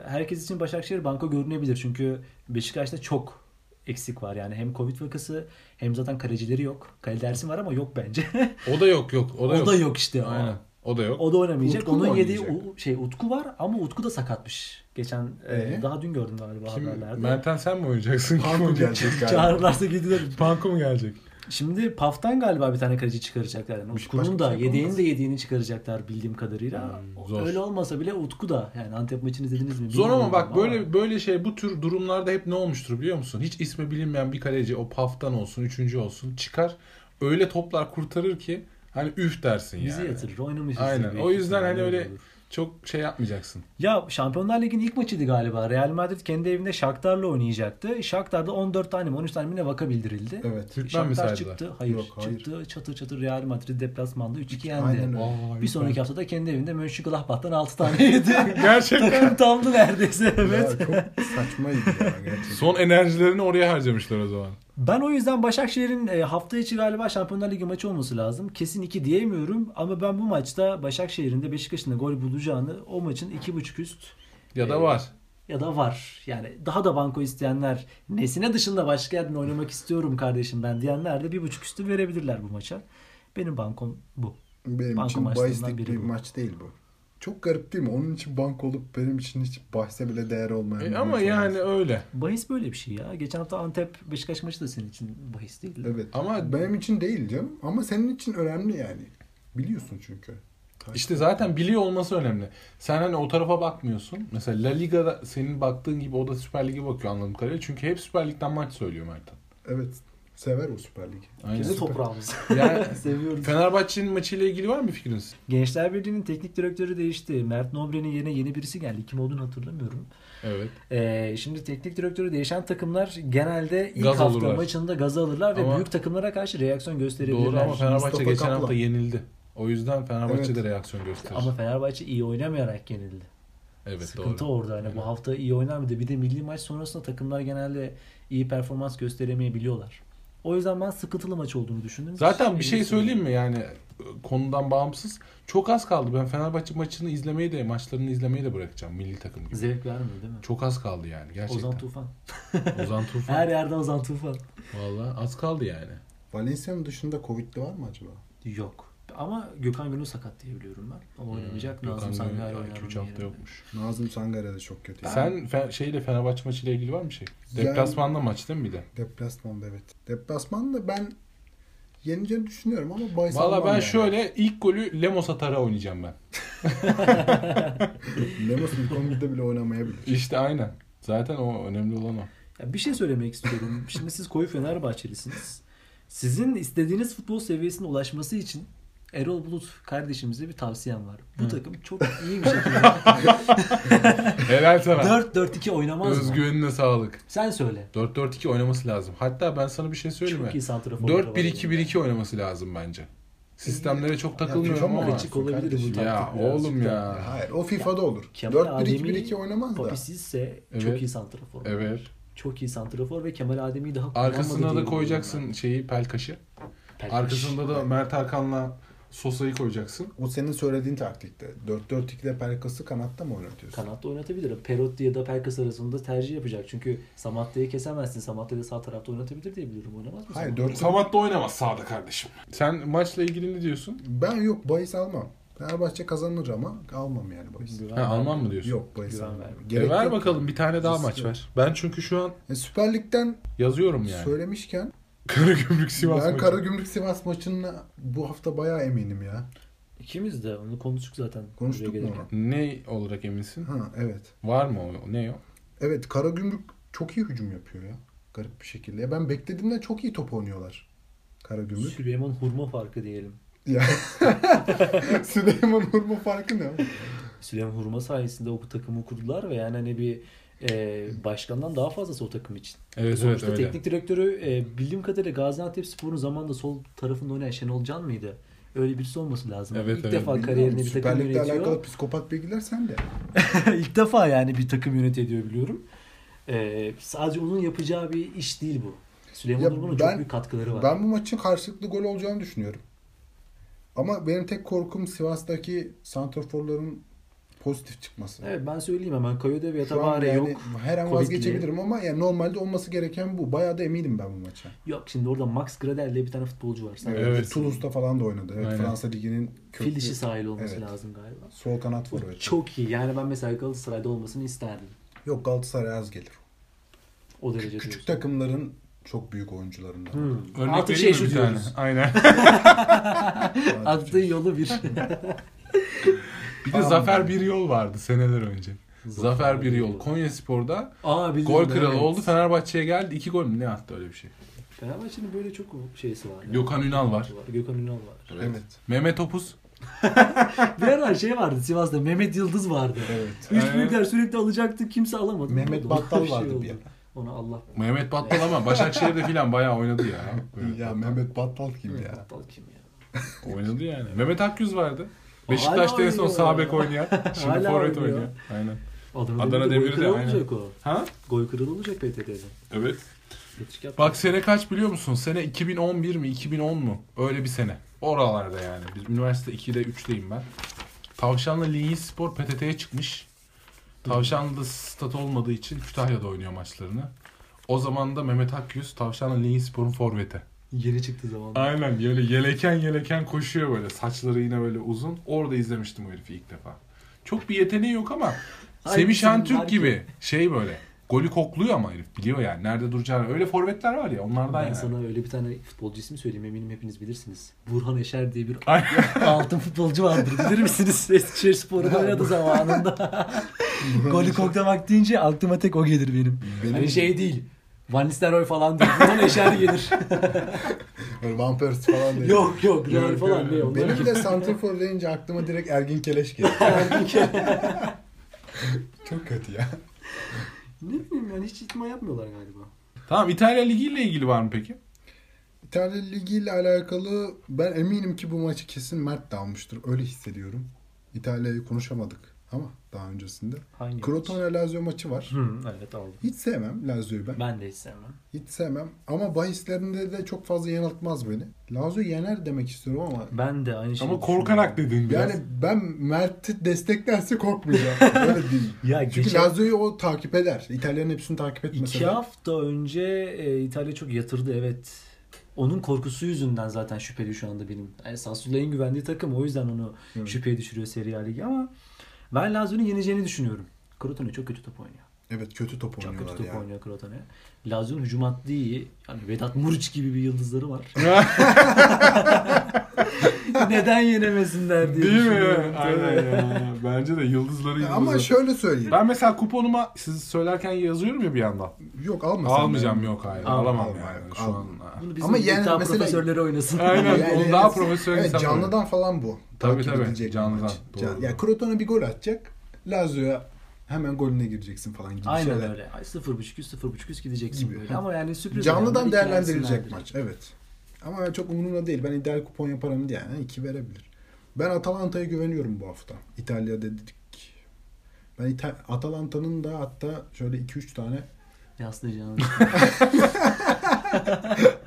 C: e, herkes için Başakşehir banko görünebilir. Çünkü Beşiktaş'ta çok eksik var. Yani hem Covid vakası hem zaten kalecileri yok. Kale dersin var ama yok bence. (laughs)
B: O da yok yok. O da, yok.
C: işte.
B: Aynen. O da yok.
C: O da oynamayacak.
D: Utku mu
C: Onun yediği
D: oynayacak?
C: u- şey Utku var ama Utku da sakatmış. Geçen e,
D: Ee?
C: daha dün gördüm galiba haberlerde.
B: Kim, Mertan sen mi oynayacaksın? Kim
D: Panko
B: oynayacak?
D: gelecek galiba.
C: Çağırırlarsa gidilir.
B: Panko mu gelecek?
C: Şimdi Paf'tan galiba bir tane kaleci çıkaracaklar. Yani Utku'nun
D: başka
C: da
D: bir şey
C: yedeğini
D: olmaz.
C: de yediğini çıkaracaklar bildiğim kadarıyla. O-
B: Hmm, zor.
C: Öyle olmasa bile Utku da yani Antep maçını izlediniz mi?
B: Zor ama
C: bilmiyorum
B: bak böyle böyle şey bu tür durumlarda hep ne olmuştur biliyor musun? Hiç ismi bilinmeyen bir kaleci o paftan olsun, üçüncü olsun çıkar. Öyle toplar kurtarır ki hani üf dersin yani.
C: bizi yatırır oynamışız.
B: Aynen.
C: tabii.
B: O yüzden hani
C: Yani
B: öyle
C: olur.
B: çok şey yapmayacaksın.
C: Ya Şampiyonlar Ligi'nin ilk maçıydı galiba. Real Madrid kendi evinde Shakhtar'la oynayacaktı. Shakhtar'da 14 tane mi 13 tane mi ne vaka bildirildi.
D: Evet.
B: Türkmen mi
C: Shakhtar
B: saydılar?
C: çıktı. Hayır,
D: Yok, hayır.
C: çıktı. Çatır çatır Real Madrid deplasmanda 3-2 yendi.
D: Aynen öyle.
B: Aa,
C: Bir sonraki hafta da kendi evinde Mönchengladbach'tan 6 tane
D: (laughs)
C: yedi.
B: Gerçekten.
C: Takım tamdı neredeyse evet.
D: Ya, çok saçmaydı ya
C: (laughs)
D: gerçekten.
B: Son enerjilerini oraya harcamışlar o zaman.
C: Ben o yüzden Başakşehir'in e, hafta içi galiba Şampiyonlar Ligi maçı olması lazım. Kesin 2 diyemiyorum ama ben bu maçta Başakşehir'in de Beşiktaş'ın da gol bulacağını o maçın 2.5 üst
B: Ya
C: Ee,
B: da var.
C: ya da var. Yani daha da banko isteyenler nesine dışında başka yerden oynamak istiyorum kardeşim ben diyenler de 1.5 üstü verebilirler bu maça. Benim bankom bu.
D: Benim
C: Banko
D: için
C: maçlarından
D: bahislik
C: biri
D: bir
C: bu.
D: maç değil bu. Çok garip değil mi? Onun için bank olup benim için hiç bahse bile değer olmayan.
B: E
D: bir
B: ama
D: maç
B: yani
D: olması.
B: öyle.
C: Bahis böyle bir şey ya. Geçen hafta Antep Beşiktaş maçı da senin için bahis değil.
D: Evet.
B: Ama-
D: Ama benim için değil canım. Ama senin için önemli yani. Biliyorsun çünkü.
B: İşte zaten biliyor olması önemli. Sen hani o tarafa bakmıyorsun. Mesela La Liga'da senin baktığın gibi o da Süper Lig'e bakıyor anladığım kadarıyla. Çünkü hep Süper Lig'den maç söylüyor Mertan.
D: Evet. Sever o Süper Lig'i.
B: Aynen.
C: Kendi
D: (laughs)
C: toprağımız.
B: Yani
C: (laughs) Seviyoruz.
B: Fenerbahçe'nin maçıyla ilgili var mı fikriniz?
C: Gençler Birliği'nin teknik direktörü değişti. Mert Nobre'nin yerine yeni birisi geldi. Kim olduğunu hatırlamıyorum.
B: Evet.
C: Ee, şimdi teknik direktörü değişen takımlar genelde ilk
B: Gaz
C: hafta
B: alırlar.
C: maçında gaz alırlar ve
B: Ama-
C: büyük takımlara karşı reaksiyon gösterebilirler.
B: Doğru ama Fenerbahçe
D: Mustafa
B: geçen
D: Kaplan.
B: hafta yenildi. O yüzden Fenerbahçe
D: Evet.
B: de reaksiyon gösterir.
C: Ama Fenerbahçe iyi oynamayarak yenildi.
B: evet
C: Sıkıntı
B: doğru.
C: orada. Hani bu
B: Evet.
C: hafta iyi oynamadı. Bir de milli maç sonrasında takımlar genelde iyi performans gösteremeyebiliyorlar. O yüzden ben sıkıntılı maç olduğunu düşündüm.
B: Zaten bir şey söyleyeyim mi yani e, konudan bağımsız. Çok az kaldı. Ben Fenerbahçe maçını izlemeyi de maçlarını izlemeyi de bırakacağım milli takım gibi.
C: Zevk vermiyor değil mi?
B: Çok az kaldı yani gerçekten.
C: Ozan Tufan.
B: Ozan Tufan.
C: Her yerde Ozan Tufan.
B: Vallahi az kaldı yani.
D: Valencia'nın dışında Covid'li var mı acaba?
C: Yok. Ama Gökhan Gönül sakat diye biliyorum ben. O oynamayacak.
B: Yok,
C: Nazım
B: anne,
C: Sangare
B: ya,
C: oynar.
B: iki, üç
C: onun
B: hafta
C: yerine.
B: yokmuş.
D: Nazım Sangare'de çok kötü.
B: Sen fe- şeyle Fenerbahçe maçıyla ilgili var mı şey?
D: Yani-
B: Deplasmanda maç değil mi bir de?
D: Deplasman'da evet. Deplasman'da ben yeneceğini düşünüyorum ama bahis
B: Valla
D: almam
B: ben
D: yani.
B: şöyle ilk golü Lemos atara oynayacağım ben.
D: Lemos ilk 11'de bile oynamayabilir.
B: İşte aynen. Zaten o önemli olan o.
C: Ya bir şey
B: (laughs)
C: söylemek istiyorum. Şimdi siz koyu Fenerbahçelisiniz. Sizin istediğiniz futbol seviyesine ulaşması için Erol Bulut kardeşimize bir tavsiyem var. Bu takım çok iyi
B: (laughs)
C: bir şekilde
B: Helal E, sana.
C: 4-4-2 oynamaz mı?
B: Özgüvenine sağlık.
C: Sen söyle.
B: 4-4-2 oynaması lazım. Hatta ben sana bir şey söyleyeyim mi?
C: Çok iyi santraforlar var.
B: 4-1-2-1-2 oynaması lazım bence. Sistemlere çok takılmıyorum
D: FIFA
B: ama.
D: oynarsın
C: Kaçık olabilir bu
D: kardeşim?
C: taktik
B: Ya
D: birazcık
B: oğlum (laughs)
D: da.
B: ya.
D: Hayır o FIFA'da olur.
C: Kemal
D: 4-1-2-1-2
C: Ademi-
D: oynamaz da.
C: Papisizse çok
B: Evet.
C: iyi santrafor.
B: Evet.
C: Çok iyi santrafor ve Kemal Adem'i daha kullanmadı
B: Arkasına da
C: diye
B: koyacaksın
C: biliyorum
B: şeyi pelkaşı.
C: ben.
B: Arkasında da Mert Hakan'la Sosa'yı koyacaksın.
D: O senin söylediğin taktikte. 4-4-2'de Pelkas'ı kanatta mı oynatıyorsun?
C: Kanatta oynatabilir. Perotti ya da Pelkas arasında tercih yapacak. Çünkü Samatta'yı kesemezsin. Samatta da sağ tarafta oynatabilir diye biliyorum. Oynamaz mı?
D: Hayır
C: Samatta?
D: 4
B: Samat da oynamaz sağda kardeşim. Sen maçla ilgili ne diyorsun?
D: Ben yok bahis almam. Fenerbahçe kazanır ama almam yani bahis.
C: Güven
B: Ha,
C: vermiyor.
B: Alman mı diyorsun?
D: Yok bahis
C: Güven
D: almam.
C: vermiyor.
B: E,
D: Gerek
B: ver
D: yok.
B: bakalım bir tane daha
D: Risk
B: maç
D: yok.
B: ver. Ben çünkü şu an
D: E, Süper Lig'den
B: yazıyorum yani.
D: söylemişken
B: Karagümrük Sivas
D: ben
B: maçı.
D: Karagümrük Sivas maçına bu hafta bayağı eminim ya.
C: İkimiz de onu konuştuk zaten.
D: Konuştuk
C: buraya
D: mu
C: gelirken.
B: Ne olarak eminsin?
D: Ha evet.
B: Var mı o? Ne o?
D: Evet Karagümrük çok iyi hücum yapıyor ya. Garip bir şekilde. Ya ben beklediğimden çok iyi top oynuyorlar.
C: (laughs)
D: Karagümrük.
C: Süleyman Hurma farkı diyelim.
D: ya. Süleyman Hurma farkı ne?
C: Süleyman Hurma sayesinde o takımı kurdular ve yani hani bir e, başkandan daha fazlası o takım için.
B: Evet evet
C: Sonuçta
B: öyle.
C: teknik direktörü e, bildiğim kadarıyla Gaziantep Spor'un zamanında sol tarafında oynayan Şenol Can mıydı? Öyle birisi olması lazım.
B: Evet,
C: İlk
B: evet.
C: defa
D: Bilmiyorum,
C: kariyerinde bir
D: Süper
C: takım
D: Lig'le
C: yönetiyor.
D: alakalı psikopat bilgiler sende.
C: (laughs) İlk defa yani bir takım yönetiyor diye biliyorum. E, sadece onun yapacağı bir iş değil bu. Süleyman
D: Ya
C: Hurman'ın
D: ben-
C: çok büyük katkıları var.
D: Ben bu maçın karşılıklı gol olacağını düşünüyorum. Ama benim tek korkum Sivas'taki santraforların pozitif çıkması.
C: Evet ben söyleyeyim hemen. Kayode ve
D: Şu an
C: Yatabare
D: yani
C: yok.
D: Her an
C: Covid'li.
D: vazgeçebilirim ama yani normalde olması gereken bu. Bayağı da eminim ben bu maça.
C: Yok şimdi orada Max Gradel diye bir tane futbolcu var. Sen
D: Evet.
B: Evet.
D: Toulouse'da falan da oynadı. Evet,
B: Aynen.
D: Fransa Ligi'nin
C: Fil dişi sahil olması
D: Evet.
C: lazım galiba.
D: Sol kanat var evet.
C: Çok iyi. Yani ben mesela Galatasaray'da olmasını isterdim.
D: Yok Galatasaray az gelir.
C: O derece
D: Küçük
C: diyorsun.
D: takımların çok çok büyük oyuncularından.
C: Hmm.
B: Örnek
C: Artık şey
B: vereyim mi bir tane?
C: diyoruz. (laughs)
B: Aynen.
C: Attığı yolu
D: (laughs)
C: bir.
B: Bir de
D: Tamam.
B: Zafer Bir Yol vardı seneler önce. Zafer Bir Yol Konya Spor'da
C: Aa biliyorum.
B: gol kralı
C: evet.
B: oldu. Fenerbahçe'ye geldi. iki gol mü ne attı öyle bir şey.
C: Fenerbahçe'nin böyle çok şeysi var. ya.
B: Gökhan Ünal var.
C: Gökhan Ünal var.
D: Evet.
B: Mehmet Opuz.
C: bir ara şey vardı Sivas'ta Mehmet Yıldız vardı.
D: Evet.
C: Üç
B: Evet.
C: büyükler sürekli alacaktı kimse alamadı.
D: Mehmet
C: Oldu.
D: Battal
C: Bir şey
D: vardı bir
C: oldu.
D: ara.
C: Ona Allah
B: Mehmet Battal ama Başakşehir'de filan bayağı oynadı ya.
C: (laughs)
B: Mehmet
D: Ya
B: Battal.
D: Mehmet Battal kim ya?
C: Battal kim ya?
B: Oynadı yani. Mehmet Akgüz vardı.
C: O
B: Beşiktaş'ta en
C: hala
B: son
C: oynuyor
B: sağ
C: ya.
B: bek oynayan. Şimdi
C: Hala
B: forvet
C: oynuyor.
B: oynuyor. Aynen.
C: Adana,
B: Adana
C: Demir'de
B: Demir'de,
C: gol kralı
B: aynen.
C: olacak o.
B: Ha?
C: Gol kralı olacak PTT'de.
B: Evet.
C: Yetişik yaptı.
B: Bak sene kaç biliyor musun? Sene 2011 mi 2010 mu? Öyle bir sene. Oralarda yani. Biz üniversite 2'de 3'teyim ben. Tavşanlı Linyi Spor PTT'ye çıkmış. Tavşanlı'da stat olmadığı için Kütahya'da oynuyor maçlarını. O zaman da Mehmet Akyüz Tavşanlı Linyi Spor'un forveti.
C: Yeni çıktı zaman.
B: Aynen böyle yeleken yeleken koşuyor böyle. Saçları yine böyle uzun. Orada izlemiştim o herifi ilk defa. Çok bir yeteneği yok ama
C: Aynı
B: Semih
C: senin
B: Şentürk
C: belki.
B: gibi şey böyle. Golü kokluyor ama herif biliyor yani. Nerede duracağını. Öyle forvetler var ya onlardan
C: Ben
B: yani.
C: sana öyle bir tane futbolcu ismi söyleyeyim eminim hepiniz bilirsiniz. Burhan Eşer diye bir
B: Ay.
C: (laughs) altın futbolcu vardır
B: (laughs)
C: bilir misiniz? Eskişehir Spor'da oynadı
D: (laughs)
C: zamanında. Golü koklamak deyince aklıma tek o gelir benim.
D: Benim
C: Hani şey değil. Van Nistelrooy falan değil. Burhan Eşer gelir.
D: Böyle Van
C: (laughs)
D: Persie falan değil.
C: Hmm. yok yok. Real
B: Yok,
C: falan
B: yok.
C: ne onlar.
D: Benim de santrafor deyince aklıma direkt Ergin Keleş geliyor.
C: (laughs)
D: Çok kötü ya.
C: Ne bileyim yani hiç itma yapmıyorlar galiba.
B: Tamam İtalya Ligi ile ilgili var mı peki?
D: İtalya Ligi ile alakalı ben eminim ki bu maçı kesin Mert de almıştır. Öyle hissediyorum. İtalya'yı konuşamadık ama daha öncesinde.
C: Hangi
D: Crotone Lazio maçı var.
C: Hı, evet aldım.
D: Hiç sevmem Lazio'yu ben.
C: Ben de hiç sevmem.
D: Hiç sevmem. Ama bahislerinde de çok fazla yanıltmaz beni. Lazio yener demek istiyorum ama
C: Ben de aynı şeyi
B: Ama korkarak dedin
D: (laughs)
B: biraz.
D: yani ben Mert'i
C: (laughs)
D: desteklerse korkmayacağım. Öyle değil.
C: Ya
D: Çünkü
C: geçen-
D: Lazio'yu o takip eder. İtalyan'ın hepsini takip etmese
C: İki
D: de.
C: hafta önce e, İtalya çok yatırdı evet. Onun korkusu yüzünden zaten şüpheli şu anda benim. Yani Sassuolo'ya en güvendiği takım o yüzden onu şüpheye düşürüyor Serie A Ligi ama ben Lazio'nun yeneceğini düşünüyorum. Crotone çok kötü top oynuyor.
D: Evet kötü top
C: Çok
D: oynuyorlar
C: kötü top
D: ya.
C: oynuyor Crotone. Lazio'nun hücum hattı iyi. Yani Vedat Muriç gibi bir yıldızları (laughs) var. Neden yenemesinler diye
B: Değil
C: düşünüyorum.
B: mi? Aynen ya. Bence de yıldızları
D: Ya
B: yıldızları.
D: Ama şöyle söyleyeyim.
B: Ben mesela kuponuma siz söylerken yazıyorum ya bir yandan.
D: Yok alma sen
B: Almayacağım
D: de.
B: yok hayır.
C: Al-
B: Alamam
D: alma,
B: yani
D: yok,
B: şu
D: alma.
B: an. ha.
C: Bunu bizim
D: Ama
C: Ama
D: yani mesela-
C: profesörleri oynasın.
B: Aynen.
D: Yani
B: onu daha
D: evet.
B: profesyonel
D: Evet,
B: insanlar
D: canlıdan falan bu.
B: Tabii,
D: Takip
B: tabii.
D: edilecek bir
B: Canlıdan,
D: maç.
B: doğru.
D: Can- Ya Crotone bir gol atacak. Lazio'ya hemen golüne gireceksin falan gibi
C: Aynen
D: şeyler.
C: öyle. Ay 0.5 üst 0.5 üst gideceksin
D: Gibi.
C: böyle. Ama yani sürpriz.
D: Canlıdan
C: olanlar
D: değerlendirilecek
C: ikilensinlerdir.
D: maç. Evet. Ama çok umurumda değil. Ben ideal kupon yaparım diye. Yani iki verebilir. Ben Atalanta'ya güveniyorum bu hafta. İtalya dedik. Ben İta- Atalanta'nın da hatta şöyle 2-3 tane (laughs)
C: Yaslayacağını.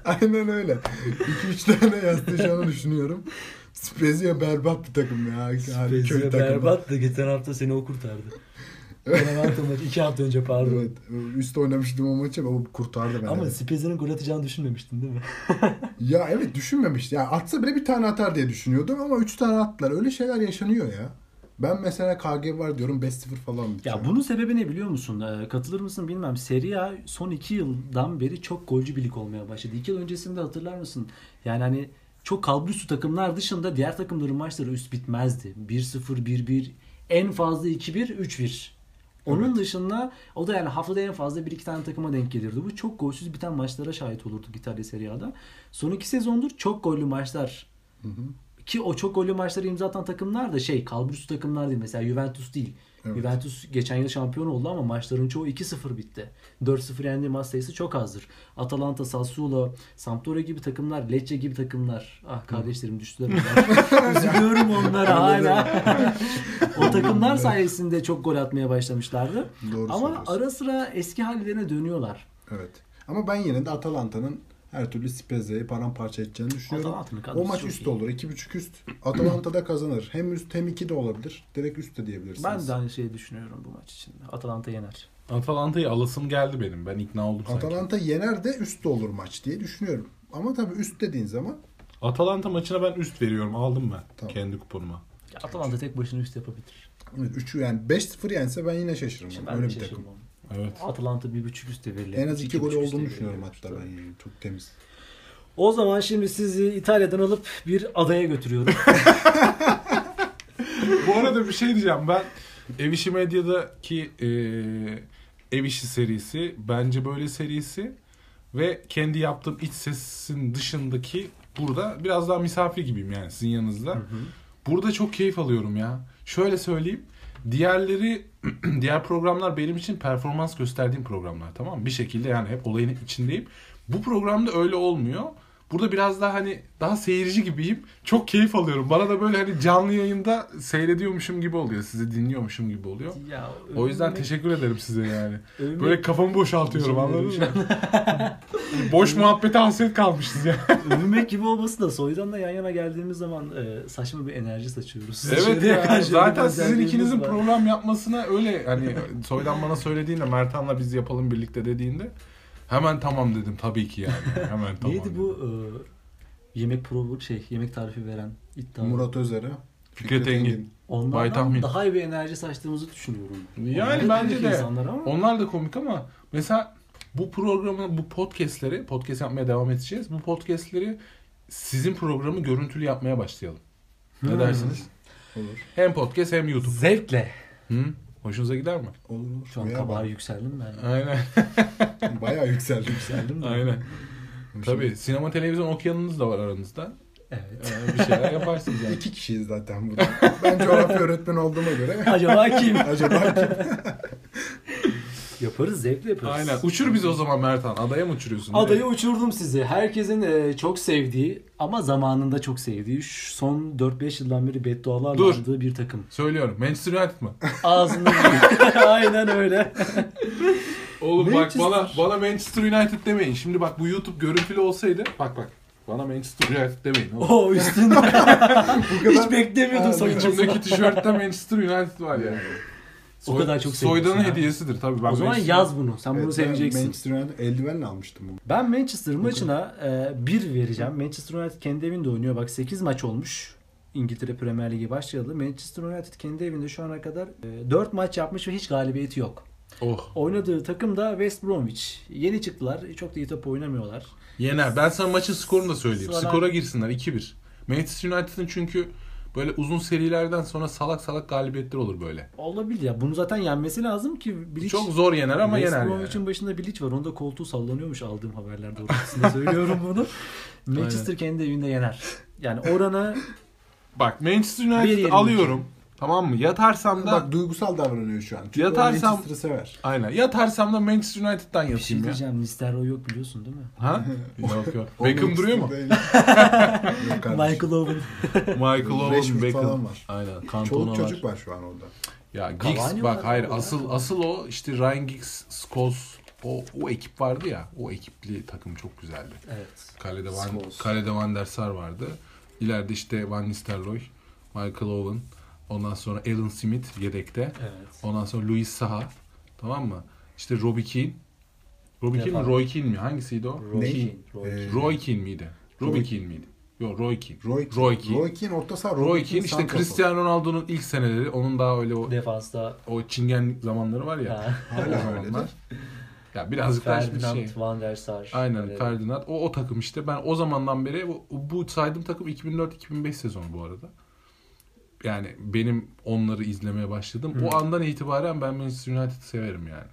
D: Aynen öyle. 2-3 tane yaslayacağını düşünüyorum. Spezia berbat bir takım ya. Köy takımı.
C: da geçen hafta seni o kurtardı. Benevento maçı 2 hafta önce pardon.
D: Evet. Üst oynamıştım o maçı ama kurtardı beni.
C: Ama
D: evet.
C: Spezia'nın gol atacağını düşünmemiştin değil mi? (laughs)
D: Ya evet düşünmemişti. Ya atsa bile bir tane atar diye düşünüyordum ama 3 tane attılar. Öyle şeyler yaşanıyor ya. Ben mesela KG var diyorum 5-0 falan bitiyor.
C: Ya bunun sebebi ne biliyor musun? Ee, katılır mısın bilmem. Serie A son 2 yıldan beri çok golcü birlik olmaya başladı. 2 yıl öncesinde hatırlar mısın? Yani hani çok kalbüstü takımlar dışında diğer takımların maçları üst bitmezdi. 1-0, 1-1, en fazla 2-1, 3-1. Onun dışında o da yani haftada en fazla bir iki tane takıma denk gelirdi. Bu çok golsüz biten maçlara şahit olurduk İtalya Serie A'da. Son iki sezondur çok gollü maçlar ki o çok gollü maçları imza atan takımlar da şey kalburüstü takımlar değil. Mesela Juventus değil.
D: Evet.
C: Juventus geçen yıl şampiyon oldu ama maçların çoğu 2-0 bitti. 4-0 yendiği maç sayısı çok azdır. Atalanta, Sassuolo, Sampdoria gibi takımlar, Lecce gibi takımlar. Ah kardeşlerim düştüler onlar. (laughs) Üzülüyorum onlara hala. o takımlar sayesinde çok gol atmaya başlamışlardı.
D: Doğru
C: ama
D: söylüyorsun.
C: ara sıra eski hallerine dönüyorlar.
D: Evet. Ama ben yine de Atalanta'nın her türlü Spezia'yı paramparça edeceğini düşünüyorum.
E: Atalanta'nın kadrosu
D: O maç
E: çok
D: üst
E: iyi.
D: olur. 2.5 üst. Atalanta da kazanır. Hem üst hem 2 de olabilir. Direkt üst de diyebilirsiniz.
C: Ben de aynı şeyi düşünüyorum bu maç için. Atalanta yener.
B: Atalanta'yı alasım geldi benim. Ben ikna oldum sanki. Atalanta...
D: Atalanta yener de üst de olur maç diye düşünüyorum. Ama tabii üst dediğin zaman
B: maçına ben üst veriyorum. Aldım ben
D: Tamam.
B: kendi kuponuma.
C: Ya Atalanta tek başına üst yapabilir.
D: evet, üçü yani 5-0 yense ben yine şaşırırım.
C: Şimdi
D: Yani.
C: ben
D: Öyle
C: de
D: bir takım.
C: şaşırmam.
B: Evet.
C: Atalanta bir buçuk üstte verilir.
D: En az 2 gol
C: buçuk
D: olduğunu
C: üstte
D: düşünüyorum
C: verilir.
D: hatta ben. Yani. Çok temiz.
C: O zaman şimdi sizi İtalya'dan alıp bir adaya götürüyorum.
B: Bu arada bir şey diyeceğim. Ben Ev İşi Medya'daki eee Ev İşi serisi bence böyle serisi ve kendi yaptığım iç sesin dışındaki burada biraz daha misafir gibiyim yani sizin yanınızda. Burada çok keyif alıyorum ya. Şöyle söyleyeyim. Diğerleri (clears throat) diğer programlar benim için performans gösterdiğim programlar tamam mı? Bir şekilde yani hep olayın içindeyim. Bu programda öyle olmuyor. Burada biraz daha hani daha seyirci gibiyim. Çok keyif alıyorum. Bana da böyle hani canlı yayında seyrediyormuşum gibi oluyor. Sizi dinliyormuşum gibi oluyor.
C: (laughs) ya,
B: O yüzden
C: övünmek-
B: teşekkür ederim size yani.
C: övünmek-
B: Böyle kafamı boşaltıyorum anladın mı?
C: şey
B: (laughs) Boş muhabbete hasret kalmışız
C: (laughs)
B: ya.
C: övünmek gibi olması da soydan da yan yana geldiğimiz zaman e, saçma bir enerji saçıyoruz.
B: Evet
C: (laughs) Dışarıya
B: ya.
C: karşı
B: Zaten
C: bir
B: sizin
C: özelliğimiz
B: ikinizin
C: var.
B: program yapmasına öyle hani Soydan bana söylediğinde Mertan'la biz yapalım birlikte dediğinde hemen tamam dedim tabii ki yani.
C: (laughs)
B: Hemen tamam.
C: Neydi bu e, yemek probu şey yemek tarifi veren iddia.
D: Murat Özer'e.
B: Fikret Engin. Bay
C: Onlardan
B: Tahmin.
C: daha iyi bir enerji saçtığımızı düşünüyorum.
B: Yani
C: Onlar da
B: bence
C: komik
B: de.
C: insanlar ama
B: Onlar da komik ama mesela bu programı, bu podcastleri, podcast yapmaya devam edeceğiz. Bu podcastleri sizin programı görüntülü yapmaya başlayalım.
C: Hmm.
B: Ne dersiniz?
D: Olur.
B: Hem podcast hem YouTube.
C: zevkle.
B: Hı? Hoşunuza gider mi?
D: Olur olur.
C: Şu an
D: Bayağı
C: kabağa yükseldim
B: (laughs)
C: ben.
B: Aynen.
D: bak- Bayağı yükseldi.
C: Yükseldim de.
B: Aynen. Tabii sinema televizyon okyanınız da var aranızda.
C: Evet.
B: Ee, bir şeyler yaparsınız yani.
D: İki kişiyiz zaten burada. Ben coğrafya öğretmeni olduğuma göre
C: (laughs) Acaba kim?
D: acaba kim?
C: yaparız zevkle yaparız.
B: (laughs) Aynen. Uçur bizi o zaman Mertan. Adaya mı uçuruyorsun?
C: Adayı
B: Nereye?
C: uçurdum sizi. Herkesin e, çok sevdiği ama zamanında çok sevdiği şu son 4-5 yıldan beri beddualarla
B: Dur.
C: andığı bir takım.
B: Söylüyorum. Manchester United mı?
C: Ağzından (laughs) Aynen öyle.
B: Oğlum bak bana, bana Manchester United demeyin. Şimdi bak bu YouTube görüntülü olsaydı. Bak bak. Bana Manchester United demeyin.
C: (laughs)
B: oğlum.
C: O
D: (laughs)
C: üstünde. Hiç beklemiyordum
D: Aynen.
C: soyunmasını.
B: İçimdeki tişörtte Manchester United var yani.
C: (laughs) O kadar çok seviyorsun
B: Soydanın
C: ha.
B: hediyesidir tabii. Ben
C: O zaman
B: Manchester-
C: yaz bunu. Sen bunu
D: Evet, ben
C: seveceksin.
D: Manchester United eldivenle almıştım bunu.
C: Ben Manchester maçına 1 vereceğim. Manchester United kendi evinde oynuyor. Bak 8 maç olmuş. İngiltere Premier Ligi başlayalı. Manchester United kendi evinde şu ana kadar 4 maç yapmış ve hiç galibiyeti yok.
B: Oh.
C: Oynadığı takım da West Bromwich. Yeni çıktılar. Çok da iyi top oynamıyorlar.
B: Yener. Ben sana maçın skorunu da söyleyeyim.
C: Sıralar-
B: Skora girsinler 2-1. Manchester United'ın çünkü böyle uzun serilerden sonra salak salak galibiyetler olur böyle.
C: Olabilir ya. Bunu zaten yenmesi lazım ki Bilic
B: Çok zor yener ama
C: West
B: yener yani.
C: Bromwich'in başında Bilic var. Onda koltuğu sallanıyormuş aldığım haberler doğrultusunda söylüyorum bunu.
B: (laughs)
C: Manchester kendi evinde yener. Yani
B: (laughs)
C: oranı
B: Bak Manchester
C: Bir
B: United
C: yerim
B: alıyorum. Tamam mı? Yatarsam da
D: Bak duygusal davranıyor şu an. Çünkü
B: Yatarsam-
D: o Manchester'ı sever.
B: aynen. Yatarsam da Manchester United'dan
C: bir şey
B: yatayım ya.
C: diyeceğim. Nistelrooy yok biliyorsun değil mi? (laughs)
B: Ha? yok yok.
D: O
B: Beckham
D: Manchester
B: duruyor mu?
D: değil. Yok kardeşim.
B: (laughs)
C: Michael Owen.
B: Michael Owen,
D: Rashford
B: Beckham.
D: falan var.
B: Aynen. Cantona
D: Çoluk
B: var.
D: çocuk var şu an orada.
B: Ya Giggs
C: Cavani
B: bak
C: var
B: hayır
C: orada.
B: asıl asıl o işte Ryan Giggs, Scholes o, o ekip vardı ya. O ekipli takım çok güzeldi.
C: Evet.
B: Kalede Van,
C: Scholes.
B: Kalede Van der Sar vardı. İleride işte Van Nistelrooy, Michael Owen, ondan sonra Alan Smith yedekte.
C: Evet.
B: Ondan sonra Luis Saha. Tamam mı? İşte Robbie Keane. Robbie Keane mi?
C: Yapar.
B: Roy Keane mi? Hangisiydi o?
C: Roy
D: Ne?
C: Keane, Roy
D: Ee,
B: Roy Keane miydi? Robbie Keane miydi? Yok Roy Keane.
D: Roy,
B: Roy Keane.
D: Roy Keane orta saha.
B: Roy Keane işte
D: santrafor.
B: Cristiano Ronaldo'nun ilk seneleri. Onun daha öyle o,
C: Defansta
B: o çingenlik zamanları var ya. (laughs)
C: ha,
D: Hala öyledir.
B: Ya birazcık daha şimdi
C: Ferdinand
B: şey.
C: Van der Sar.
B: Aynen
C: Evet.
B: Ferdinand. O o takım işte. Ben o zamandan beri bu, bu saydığım takım 2004-2005 sezonu bu arada. Yani benim onları izlemeye başladım. O andan itibaren ben Manchester United'ı severim yani.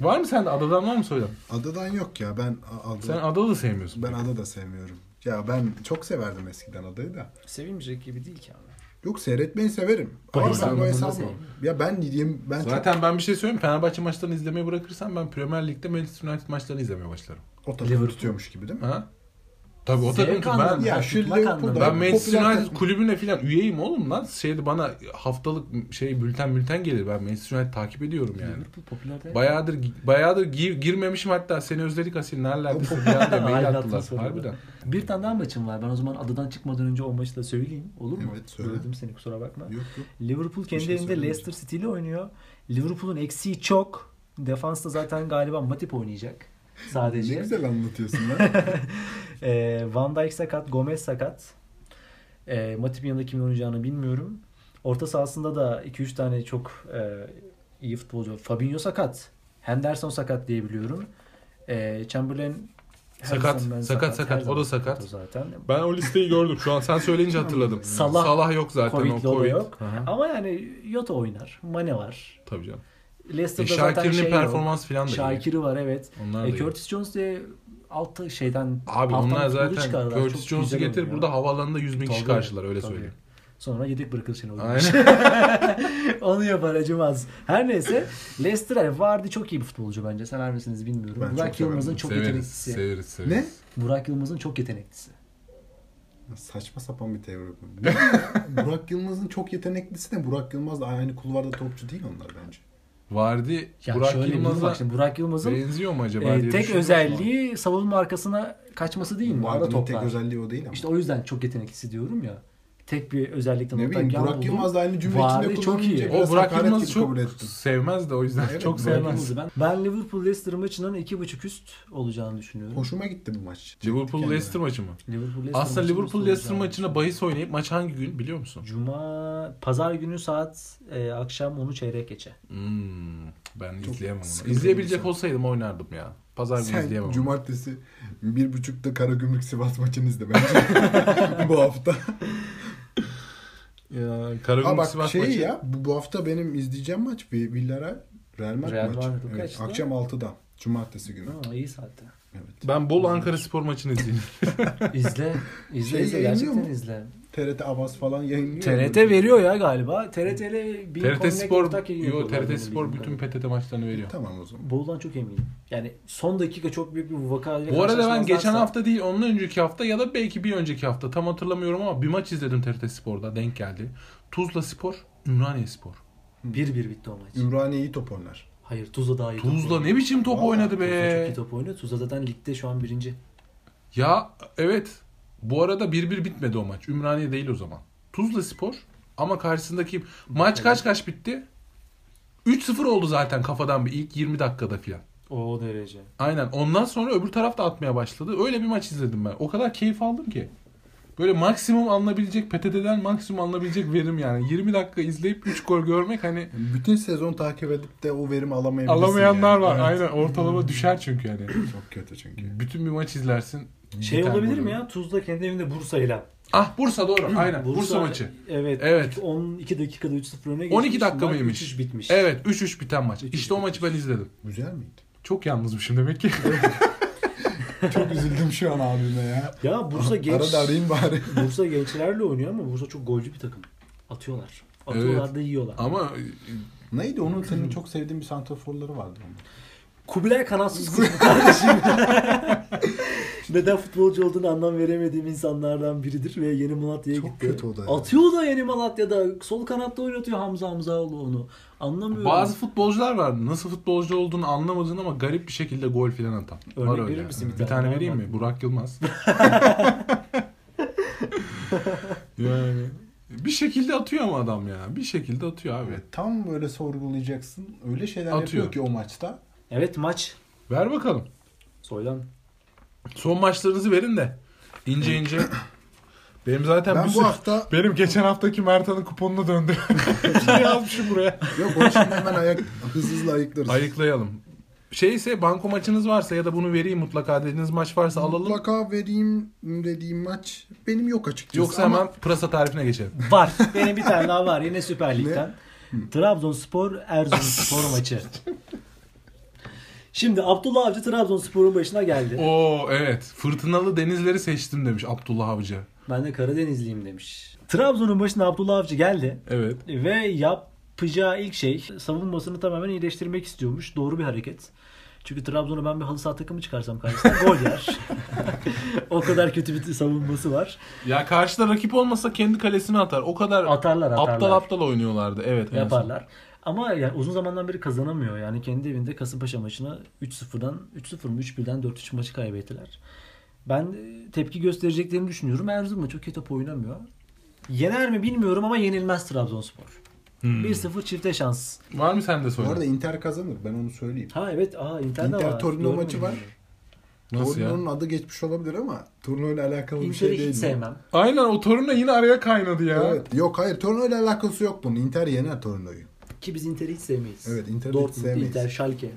B: Var mı sende? Adadan var mı Soydan?
D: Adadan yok ya. Ben a- ada,
B: Sen Adalı da sevmiyorsun.
D: ben ada da sevmiyorum. Ya ben çok severdim eskiden adayı da.
C: Sevimcilik gibi değil ki abi.
D: Yok seyretmeyi severim.
C: Bayılırım.
D: Ama sen bu
C: Ben bunu
D: hesap mı?
C: sevmiyorum.
D: Ya ben diyeyim ben
B: Zaten ben bir şey söyleyeyim. mi? Fenerbahçe maçlarını izlemeye bırakırsam ben Premier Lig'de Manchester United maçlarını izlemeye başlarım.
D: çok o takımı
C: Liverpool.
D: tutuyormuş gibi değil mi?
B: Ha? Tabii o takım
C: Zevk
B: ki ben
C: anlamında,
D: ya şu
C: tutmak
D: Liverpool
C: anlamında.
D: ben-
B: ben Manchester
D: popüler
B: United
D: takım.
B: kulübüne falan üyeyim oğlum lan. Şeydi bana haftalık şey bülten bülten gelir. Ben Manchester United takip ediyorum yani.
C: Liverpool popüler değil.
B: Bayağıdır bayağıdır gi- girmemişim hatta seni özledik Asil nerelerdesin falan diye mail
C: Aynen,
B: attılar.
C: attılar.
B: Harbiden.
C: Bir tane daha maçım var. Ben o zaman adadan çıkmadan önce o maçı da söyleyeyim. Olur mu?
D: Evet, söyle.
C: Böldüm seni kusura bakma.
D: Yok yok.
C: Liverpool kendi
D: şey
C: evinde
D: söylemeyeceğim.
C: Leicester City ile oynuyor. Liverpool'un eksiği çok. Defansta zaten galiba Matip oynayacak.
D: Ne
C: Sadece.
D: güzel anlatıyorsun lan.
C: (laughs) Ee, Van Dijk sakat, Gomez sakat. Ee, Matip'in yanında kimin oynayacağını bilmiyorum. Orta sahasında da 2-3 tane çok e, iyi futbolcu var. Fabinho sakat. Henderson sakat diye biliyorum. Ee, Chamberlain her
B: Sakat,
C: zaman
B: sakat, sakat.
C: her
B: O da
C: zaman
B: sakat.
C: o zaten.
B: Ben o listeyi gördüm. Şu an sen söyleyince hatırladım.
C: Salah.
B: yok zaten
C: Covid'li
B: o
C: o da
B: Covid.
C: yok.
B: Hı hı.
C: Ama yani Yota oynar. Mane var.
B: Tabii canım. E,
C: Leicester'da zaten
B: Şakir'in
C: şey yok.
B: performans falan da iyi.
C: Şakir'i var evet.
B: Onlar da
C: E,
B: iyi.
C: Curtis Jones diye altta şeyden
B: Abi
C: alttan
B: onlar
C: futbolu
B: zaten
C: çıkardılar.
B: Curtis
C: Çok
B: Jones'u
C: güzel
B: getir
C: oynuyor.
B: burada havaalanında 100 bin kişi
C: Tabii,
B: karşılar öyle
C: tabii.
B: söyleyeyim.
C: Sonra yedek bırakır seni oyuna.
B: Aynen.
C: (laughs) Onu yapar acımaz. Her neyse Leicester yani Vardy çok iyi bir futbolcu bence. Sever misiniz bilmiyorum.
D: Ben çok
C: Burak
D: severim.
C: Yılmaz'ın çok
B: severiz,
C: yeteneklisi.
B: severiz,
D: ne?
B: severiz.
C: Burak Yılmaz'ın çok yeteneklisi.
D: Saçma sapan bir teori
C: (laughs)
D: bu. Ne ya? Burak Yılmaz'ın çok yeteneklisi de Burak Yılmaz da aynı kulvarda topçu değil onlar bence.
B: Vardy,
C: Ya
B: Burak
C: şöyle bir bak
B: Yılmaz'a
C: şimdi Burak Yılmaz'ın
B: benziyor mu acaba
C: e,
B: diye şey
C: tek
B: düşünüyorum.
C: özelliği savunma arkasına kaçması değil mi? Ara
D: Vardy'nin tek
C: toplar.
D: özelliği o değil ama.
C: İşte o yüzden çok yeteneklisi diyorum ya. Tek bir özellikten
D: ne bileyim
C: ortak yan
D: Burak
C: buldum.
D: Yılmaz da aynı cümle
C: Vardy
D: içinde
C: çok iyi.
D: kullanınca
B: O
D: biraz
B: Burak
D: hakaret
B: Yılmaz'ı
D: gibi
B: çok
D: kabul ettim.
B: sevmez de o yüzden
D: Evet,
B: çok
D: Burak
B: sevmez.
C: Ben, ben Liverpool Leicester maçının 2.5 üst olacağını düşünüyorum.
D: Hoşuma gitti bu maç.
B: Liverpool Leicester maçı mı?
C: Liverpool Leicester
B: Aslında
C: maçının üst
B: Liverpool Leicester
C: olacağını
B: maçına bahis oynayıp maç hangi gün biliyor musun?
C: Cuma pazar günü saat e, akşam 10'u çeyrek geçe.
B: Hmm, ben
D: Çok
B: izleyemem onu.
D: sıkıntı
B: İzleyebilecek
D: insan.
B: olsaydım oynardım ya. Pazar günü
D: Sen
B: izleyemem. onu.
D: cumartesi bir buçukta Karagümrük Sivas maçını izle bence (laughs) bu hafta.
B: Ya,
D: Ha
B: Karagümrük
D: bak
B: Sivas
D: şey
B: maçı.
D: ya bu, bu hafta benim izleyeceğim maç Vi- Villarreal Real Madrid
C: Real
D: maçı.
C: Madrid, o
D: Evet,
C: kaçta?
D: akşam 6'da cumartesi günü.
C: Aa, iyi saatte.
D: Evet.
B: Ben bol Ankara Spor
D: (laughs)
B: maçını izleyeyim.
C: İzle. İzle
D: Şey
C: izle.
D: yayınlıyor
C: Gerçekten
D: mu?
C: izle.
D: TRT Avaz falan yayınlıyor.
C: TRT veriyor ya galiba. TRT ile bir
B: TRT
C: Connect
B: Spor,
C: ortak yayın
B: yo,
C: yapıyorlar benim
B: TRT Spor
C: bildiğim
B: bütün
C: kadarıyla.
B: PTT maçlarını veriyor.
D: Tamam o zaman.
C: Bolu'dan çok eminim. Yani son dakika çok büyük bir vaka. ile
B: Bu arada ben geçen
C: karşılaşmazlarsa-
B: hafta değil ondan önceki hafta ya da belki bir önceki hafta tam hatırlamıyorum ama bir maç izledim TRT Spor'da denk geldi. Tuzla Spor, Ümraniye Spor.
C: 1-1 bitti o maç.
D: Ümraniye iyi top oynar.
C: Hayır Tuzla daha iyi. top
B: Tuzla
C: oynuyor.
B: ne biçim top
D: Vallahi
B: oynadı
C: Tuzla çok
B: be.
C: iyi top oynuyor. Tuzla zaten ligde şu an birinci.
B: Ya evet bu arada 1-1 bitmedi o maç. Ümraniye değil o zaman. Tuzla Spor ama karşısındaki maç kaç kaç bitti? 3-0 oldu zaten kafadan bir ilk 20 dakikada filan.
C: O derece.
B: Aynen. Ondan sonra öbür taraf da atmaya başladı. Öyle bir maç izledim ben. O kadar keyif aldım ki. Böyle maksimum alınabilecek PTT'den maksimum alınabilecek verim yani. 20 dakika izleyip 3 gol görmek hani
D: Bütün sezon takip edip de o verimi alamayabilirsin.
B: alamayanlar
D: yani.
B: var.
D: Evet.
B: Aynen
C: Hmm.
B: ortalama düşer çünkü yani.
D: Çok kötü çünkü.
B: Bütün bir maç izlersin.
C: Şey
B: Bir tane
C: olabilir
B: gol
C: mi
B: olur.
C: ya? Tuzla kendi evinde Bursa'yla.
B: Ah Bursa doğru. Aynen. Bursa, maçı.
C: Evet.
B: Evet.
C: 12 dakikada 3-0 öne geçmiş.
B: 12 dakika
C: Maç
B: mıymış?
C: 3-3 bitmiş.
B: Evet 3-3 biten maç.
C: 3-3
B: İşte o maçı ben izledim.
D: Güzel miydi?
B: Çok yalnızmışım demek ki.
D: Çok üzüldüm şu an abime ya.
C: Ya Bursa genç.
D: Arada arayayım
C: (laughs)
D: bari.
C: Bursa gençlerle oynuyor ama Bursa çok golcü bir takım. Atıyorlar. Atıyorlar
B: Evet.
C: da yiyorlar.
B: (laughs) Ama e,
D: Neydi onun senin çok sevdiğin bir santraforları vardı onun.
C: Kubilay kanatsız kız bu kardeşim. (laughs) Neden futbolcu olduğunu anlam veremediğim insanlardan biridir ve yeni Malatya'ya
D: Çok
C: gitti.
D: kötü o da ya.
C: Atıyor da yeni Malatya'da. Sol kanatta oynatıyor Hamza Hamzaoğlu onu. Anlamıyorum.
B: bazı futbolcular var. Nasıl futbolcu olduğunu anlamadığın ama garip bir şekilde gol filan atan.
C: Örnek
B: var öyle.
C: verir misin bir
B: Bir
C: tane?
B: tane vereyim mi? Burak Yılmaz. yani bir şekilde atıyor ama adam ya. Bir şekilde atıyor abi.
D: Tam böyle sorgulayacaksın. Öyle şeyler
B: Atıyor.
D: yapıyor ki o maçta.
C: Evet maç.
B: Ver bakalım.
C: Soydan.
B: Son maçlarınızı verin de ince ince. Benim zaten
D: Ben
B: bir
D: bu
B: sürü-
D: hafta
B: benim geçen haftaki Mertan'ın kuponuna döndü. Ne yazmışım buraya?
D: (laughs) yok onu şimdi hemen ayak hızlı hızlı ayıklarız.
B: Ayıklayalım. Şeyse banko maçınız varsa ya da bunu vereyim mutlaka dediğiniz maç varsa alalım.
D: Mutlaka vereyim dediğim maç benim yok açıkçası.
B: Yoksa
D: ama
B: hemen pırasa tarifine geçelim.
C: Var. Benim bir tane daha var. Yine Süper Lig'den. Trabzonspor Erzurumspor maçı. Şimdi Abdullah Avcı Trabzonspor'un başına geldi.
B: (laughs) Oo evet. Fırtınalı denizleri seçtim demiş Abdullah Avcı.
C: Ben de Karadenizliyim demiş. Trabzon'un başına Abdullah Avcı geldi
B: Evet.
C: ve yapacağı ilk şey savunmasını tamamen iyileştirmek istiyormuş. Doğru bir hareket. Çünkü Trabzon'a ben bir halı saha takımı çıkarsam karşısına gol yer. o kadar kötü bir savunması var.
B: Ya karşıda rakip olmasa kendi kalesine atar. O kadar
C: Atarlar atarlar.
B: aptal aptal oynuyorlardı. Evet. en
C: yaparlar. Ama yani uzun zamandan beri kazanamıyor. Yani kendi evinde Kasımpaşa maçını 3-0'dan 3-0 mı 3-1'den 4-3 maçı kaybettiler. Ben e, tepki göstereceklerini düşünüyorum. Erzurum da çok kötü top oynamıyor. Yener mi bilmiyorum ama yenilmez Trabzonspor. 1-0 çifte şans.
B: son. Var mı sende
D: Bu
B: soru?
D: arada Inter kazanır. Ben onu söyleyeyim.
C: Ha evet, aa Inter, de
D: Inter
C: var.
D: Torino
C: Doğru
D: maçı
C: mu?
D: var.
B: Nasıl ya?
D: Torino'nun adı geçmiş olabilir ama turnuva alakalı bir şey
C: Inter'i
D: değil.
C: hiç
D: bu.
C: sevmem.
B: Aynen o Torino yine araya kaynadı ya.
D: Evet. Yok hayır Torino ile alakası yok bunun. Inter yener Torino'yu.
C: Ki biz Inter'i hiç sevmeyiz.
D: Evet, Inter'i hiç
C: Dortmund,
D: sevmeyiz.
C: Inter, Schalke.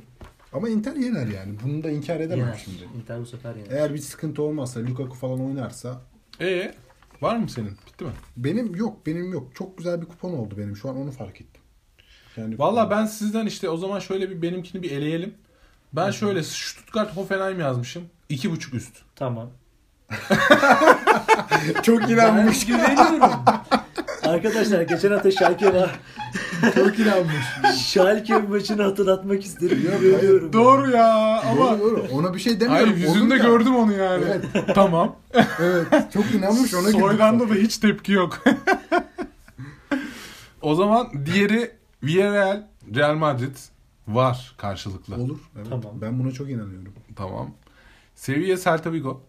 D: Ama Inter yener yani. Bunu da inkar edemem
C: Yener.
D: şimdi. E-
C: Inter bu sefer yener.
D: Eğer bir sıkıntı olmazsa Lukaku falan oynarsa
B: Ee, var mı senin? Bitti mi?
D: benim yok benim yok. Çok güzel bir kupon oldu benim. Şu an onu fark ettim. Yani
B: Valla ben sizden işte o zaman şöyle bir benimkini bir eleyelim. Ben şöyle Stuttgart Hoffenheim yazmışım. 2.5 üst.
C: Tamam.
D: (laughs) çok inanmış.
C: Güveniyorum. (laughs) Arkadaşlar geçen hafta Schalke var.
D: çok inanmış.
C: Schalke maçını hatırlatmak isterim.
D: Yok, hayır.
C: Güveniyorum.
B: Doğru ya (laughs) ama
D: Doğru, doğru. Ona bir şey demiyorum.
B: hayır yüzünde
D: Olur da.
B: gördüm onu yani. (laughs) tamam.
D: Evet. Çok inanmış ona güldüm.
B: Soylan'da da hiç tepki yok. o zaman diğeri Villarreal Real Madrid var karşılıklı.
D: Olur. Evet.
C: Tamam.
D: Ben buna çok inanıyorum.
B: Tamam. Sevilla Celta Vigo.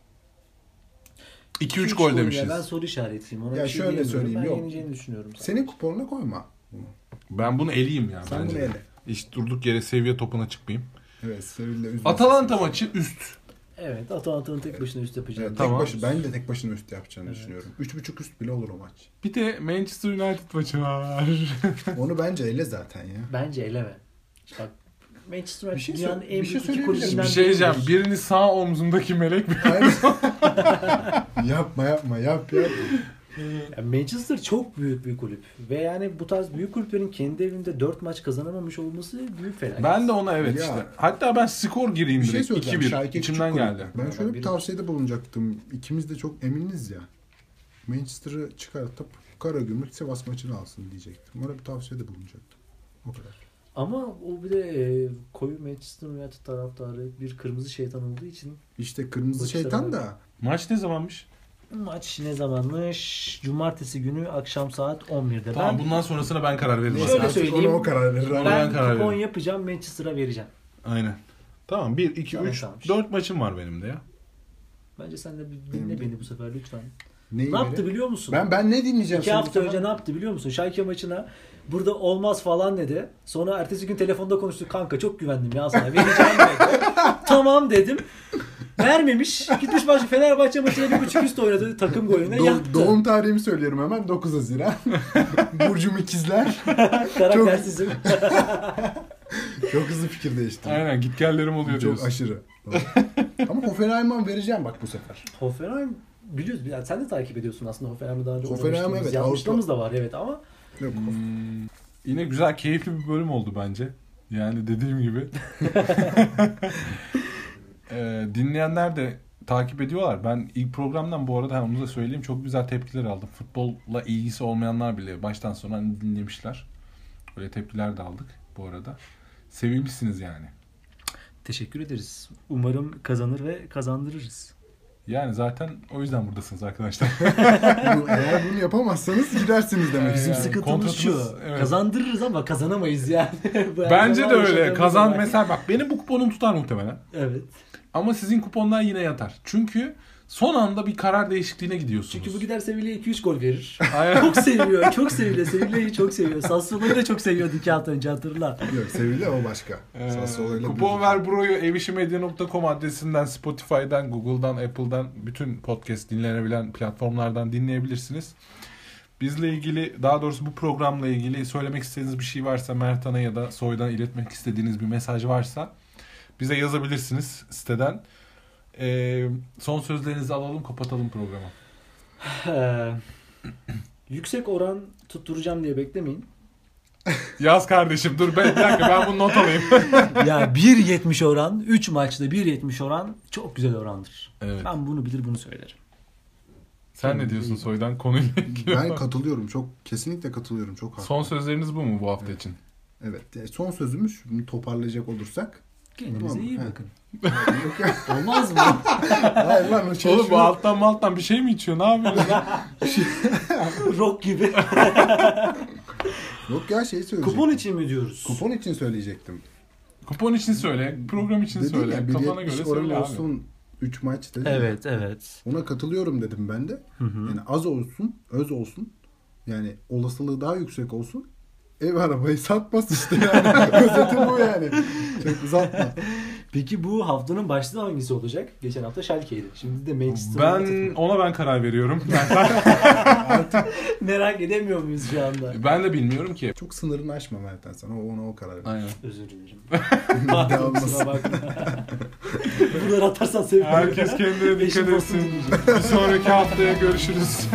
B: 2-3
C: Üç
B: gol
C: ya.
B: demişiz.
C: Ben soru işaretiyim. Ona
D: Ya
C: bir şey
D: şöyle
C: diyemiyorum.
D: söyleyeyim,
C: Ben
D: yok.
C: yeneceğini düşünüyorum.
D: Senin kuponuna koyma. bunu.
B: Ben bunu eleyeyim ya
D: Sen
B: bence.
D: bunu ele.
B: Hiç durduk yere seviye topuna çıkmayayım.
D: Evet. Sevilla üzmesin.
B: Atalanta maçı üst.
C: Evet Atalanta'nın tek başına üst yapacağı.
D: Evet,
B: Tamam.
D: tek başı, ben de tek başına üst yapacağını düşünüyorum. 3.5 üst bile olur o maç.
B: Bir de Manchester United maçı var.
D: Onu bence ele zaten ya.
C: Bence eleme. Bak Manchester
D: Bir şey
C: United dünyanın
D: sö-
C: en
D: bir şey
C: büyük iki
D: söyleyebilir
C: kulübünden
B: bir
D: miyim?
B: şey diyeceğim.
C: biridir.
B: Birini sağ omzumdaki melek bir... (laughs)
D: Hayır. (laughs) yapma yapma yap yap.
C: Ya Manchester çok büyük bir kulüp. Ve yani bu tarz büyük kulüplerin kendi evinde 4 maç kazanamamış olması büyük felaket.
B: Ben de ona evet
D: Ya.
B: işte. Hatta ben skor gireyim
D: Bir şey
B: direkt.
D: söyleyeceğim.
B: 2-1.
D: Şalke
B: İçimden
D: küçük kulüp.
B: geldi.
D: Ben şöyle bir
C: bir-
D: tavsiyede bulunacaktım. İkimiz de çok eminiz ya. Manchester'ı çıkartıp Karagümrük Sivas maçını alsın diyecektim. Ona bir tavsiyede bulunacaktım. O kadar.
C: Ama o bir de e, koyu Manchester United taraftarı bir kırmızı şeytan olduğu için
D: İşte kırmızı
C: Maçta
D: şeytan
C: ben-
D: da
B: Maç ne zamanmış?
C: maç ne zamanmış? Cumartesi günü akşam saat 11'de.
B: Tamam
C: ben
B: bundan sonrasına ben karar veririm.
C: Şöyle
B: Aslında.
D: Artık
C: söyleyeyim.
D: Ona o karar verir.
B: Ben-
D: ama.
C: ben
B: karar
C: kupon
B: veririm.
C: yapacağım Manchester'a vereceğim.
B: Aynen. Tamam 1, 2,
C: Tamam,
B: 3,
C: tamam.
B: 4 maçım var benim de ya.
C: Bence sen de bir
D: Benim
C: dinle
D: de.
C: beni bu sefer lütfen.
D: Neyi
C: Ne yaptı
D: verir?
C: biliyor musun?
D: Ben ben ne dinleyeceğim?
C: İki
D: şimdi
C: hafta
D: sana?
C: önce ne yaptı biliyor musun? Şalke maçına burada olmaz falan dedi. Sonra ertesi gün telefonda konuştuk. Kanka çok güvendim ya sana. Vereceğim
D: (laughs)
C: dedi. tamam dedim. Vermemiş. Gitmiş başka Fenerbahçe maçına bir buçuk üst oynadı. Takım golüne
D: Do-
C: yattı.
D: doğum tarihimi söylüyorum hemen
C: (laughs)
D: 9 Haziran. Burcum ikizler.
C: Karaktersizim.
D: Çok hızlı fikir değiştirdim.
B: Aynen gitgellerim oluyor
D: Çok
B: diyorsun.
D: aşırı. Ama Hoffenheim'e vereceğim bak bu sefer.
C: (laughs) Hoffenheim biliyoruz. Yani sen de takip ediyorsun aslında Hoffenheim'i daha önce
D: Hoffenheim,
C: oynamıştınız.
D: evet,
C: Yazmışlığımız da var evet ama
D: Yok,
B: Yine güzel, keyifli bir bölüm oldu bence. Yani dediğim gibi. Ee, dinleyenler de takip ediyorlar. Ben ilk programdan bu arada hani onu da söyleyeyim çok güzel tepkiler aldım. Futbolla ilgisi olmayanlar bile baştan sona hani dinlemişler. Böyle tepkiler de aldık bu arada. Sevilmişsiniz yani.
C: teşekkür ederiz. Umarım kazanır ve kazandırırız.
B: Yani zaten o yüzden buradasınız arkadaşlar.
C: (laughs)
D: Bu- eğer bunu yapamazsanız gidersiniz demek.
B: Ee,
D: Bizim
B: yani.
C: Sıkıntımız şu.
B: kontratımız- evet.
C: Kazandırırız ama kazanamayız yani. (laughs) Bu
B: (laughs)
C: her
B: Bence de
C: zaman
B: öyle.
C: yaşadığımız
B: Kazan
C: olay.
B: mesela bak benim bu kuponum tutar muhtemelen.
C: Evet.
B: Ama sizin kuponlar yine yatar. Çünkü son anda bir karar değişikliğine gidiyorsunuz.
C: Çünkü bu gider Sevilla'ya 2-3 gol verir.
B: Aynen.
C: çok seviyor. Çok seviyor. Sevilla'yı çok seviyor. Sassuolo'yu da çok seviyordu 2 hafta önce hatırla.
D: Yok Sevilla o başka.
B: Ee,
D: Sassuolo'yla
B: kupon
D: bir-
B: ver broyu evişimedya.com adresinden Spotify'dan, Google'dan, Apple'dan bütün podcast dinlenebilen platformlardan dinleyebilirsiniz. Bizle ilgili daha doğrusu bu programla ilgili söylemek istediğiniz bir şey varsa Mertan'a ya da Soy'dan iletmek istediğiniz bir mesaj varsa bize yazabilirsiniz siteden. Ee, son sözlerinizi alalım kapatalım programı.
C: Ee, Yüksek oran tutturacağım diye beklemeyin.
B: Yaz kardeşim dur ben, bir dakika ben bunu not alayım.
C: (laughs) Ya 1.70 oran 3 maçta 1.70 oran çok güzel orandır.
B: evet.
C: Ben bunu bilir bunu söylerim.
B: Sen ne diyorsun Soy'dan konuyla ilgili?
D: Ben katılıyorum çok kesinlikle katılıyorum çok haklı.
B: Son sözleriniz bu mu bu hafta için? (laughs)
D: Evet e, son sözümüz şunu toparlayacak olursak
E: Kendinize
D: Tamam,
E: iyi
D: he.
E: bakın.
D: Yok ya.
E: Olmaz mı?
D: Hayır lan o şey
B: Oğlum
D: şu-
B: bu alttan malttan bir şey mi içiyor? Ne yapıyorsun lan?
E: Rock gibi.
D: Yok ya şey
C: (laughs)
D: söyleyecektim.
C: Kupon için mi diyoruz?
D: Kupon için söyleyecektim.
B: Kupon için söyle, program için
D: Dedin
B: söyle,
D: ya,
B: kafana göre
D: 1.70 oranı
B: söyle abi.
D: olsun 3 maç dedin. ya.
C: Evet evet.
D: Ona katılıyorum dedim ben de. Yani az olsun, öz olsun. Yani olasılığı daha yüksek olsun. Ev arabayı satmaz işte yani. (laughs) Özeti bu yani. Çok uzatma.
C: Peki bu haftanın başlığı hangisi olacak? Geçen hafta Schalke'ydi. Şimdi de Manchester United
B: Ben
C: mı?
B: ona ben karar veriyorum.
C: (laughs)
B: (laughs)
C: Merak edemiyor muyuz şu
B: (laughs)
C: anda?
B: ben de bilmiyorum ki.
D: Çok sınırını aşma Mert'ten sana. O- Ona o karar ver.
B: Aynen.
C: Özür dilerim.
D: (laughs) Devam
C: Kusura bakma. (laughs) Bunları atarsan sevinirim.
B: Herkes kendine
C: Eşim
B: dikkat
C: olsun
B: etsin.
C: diyeceğim.
B: Bir sonraki haftaya görüşürüz.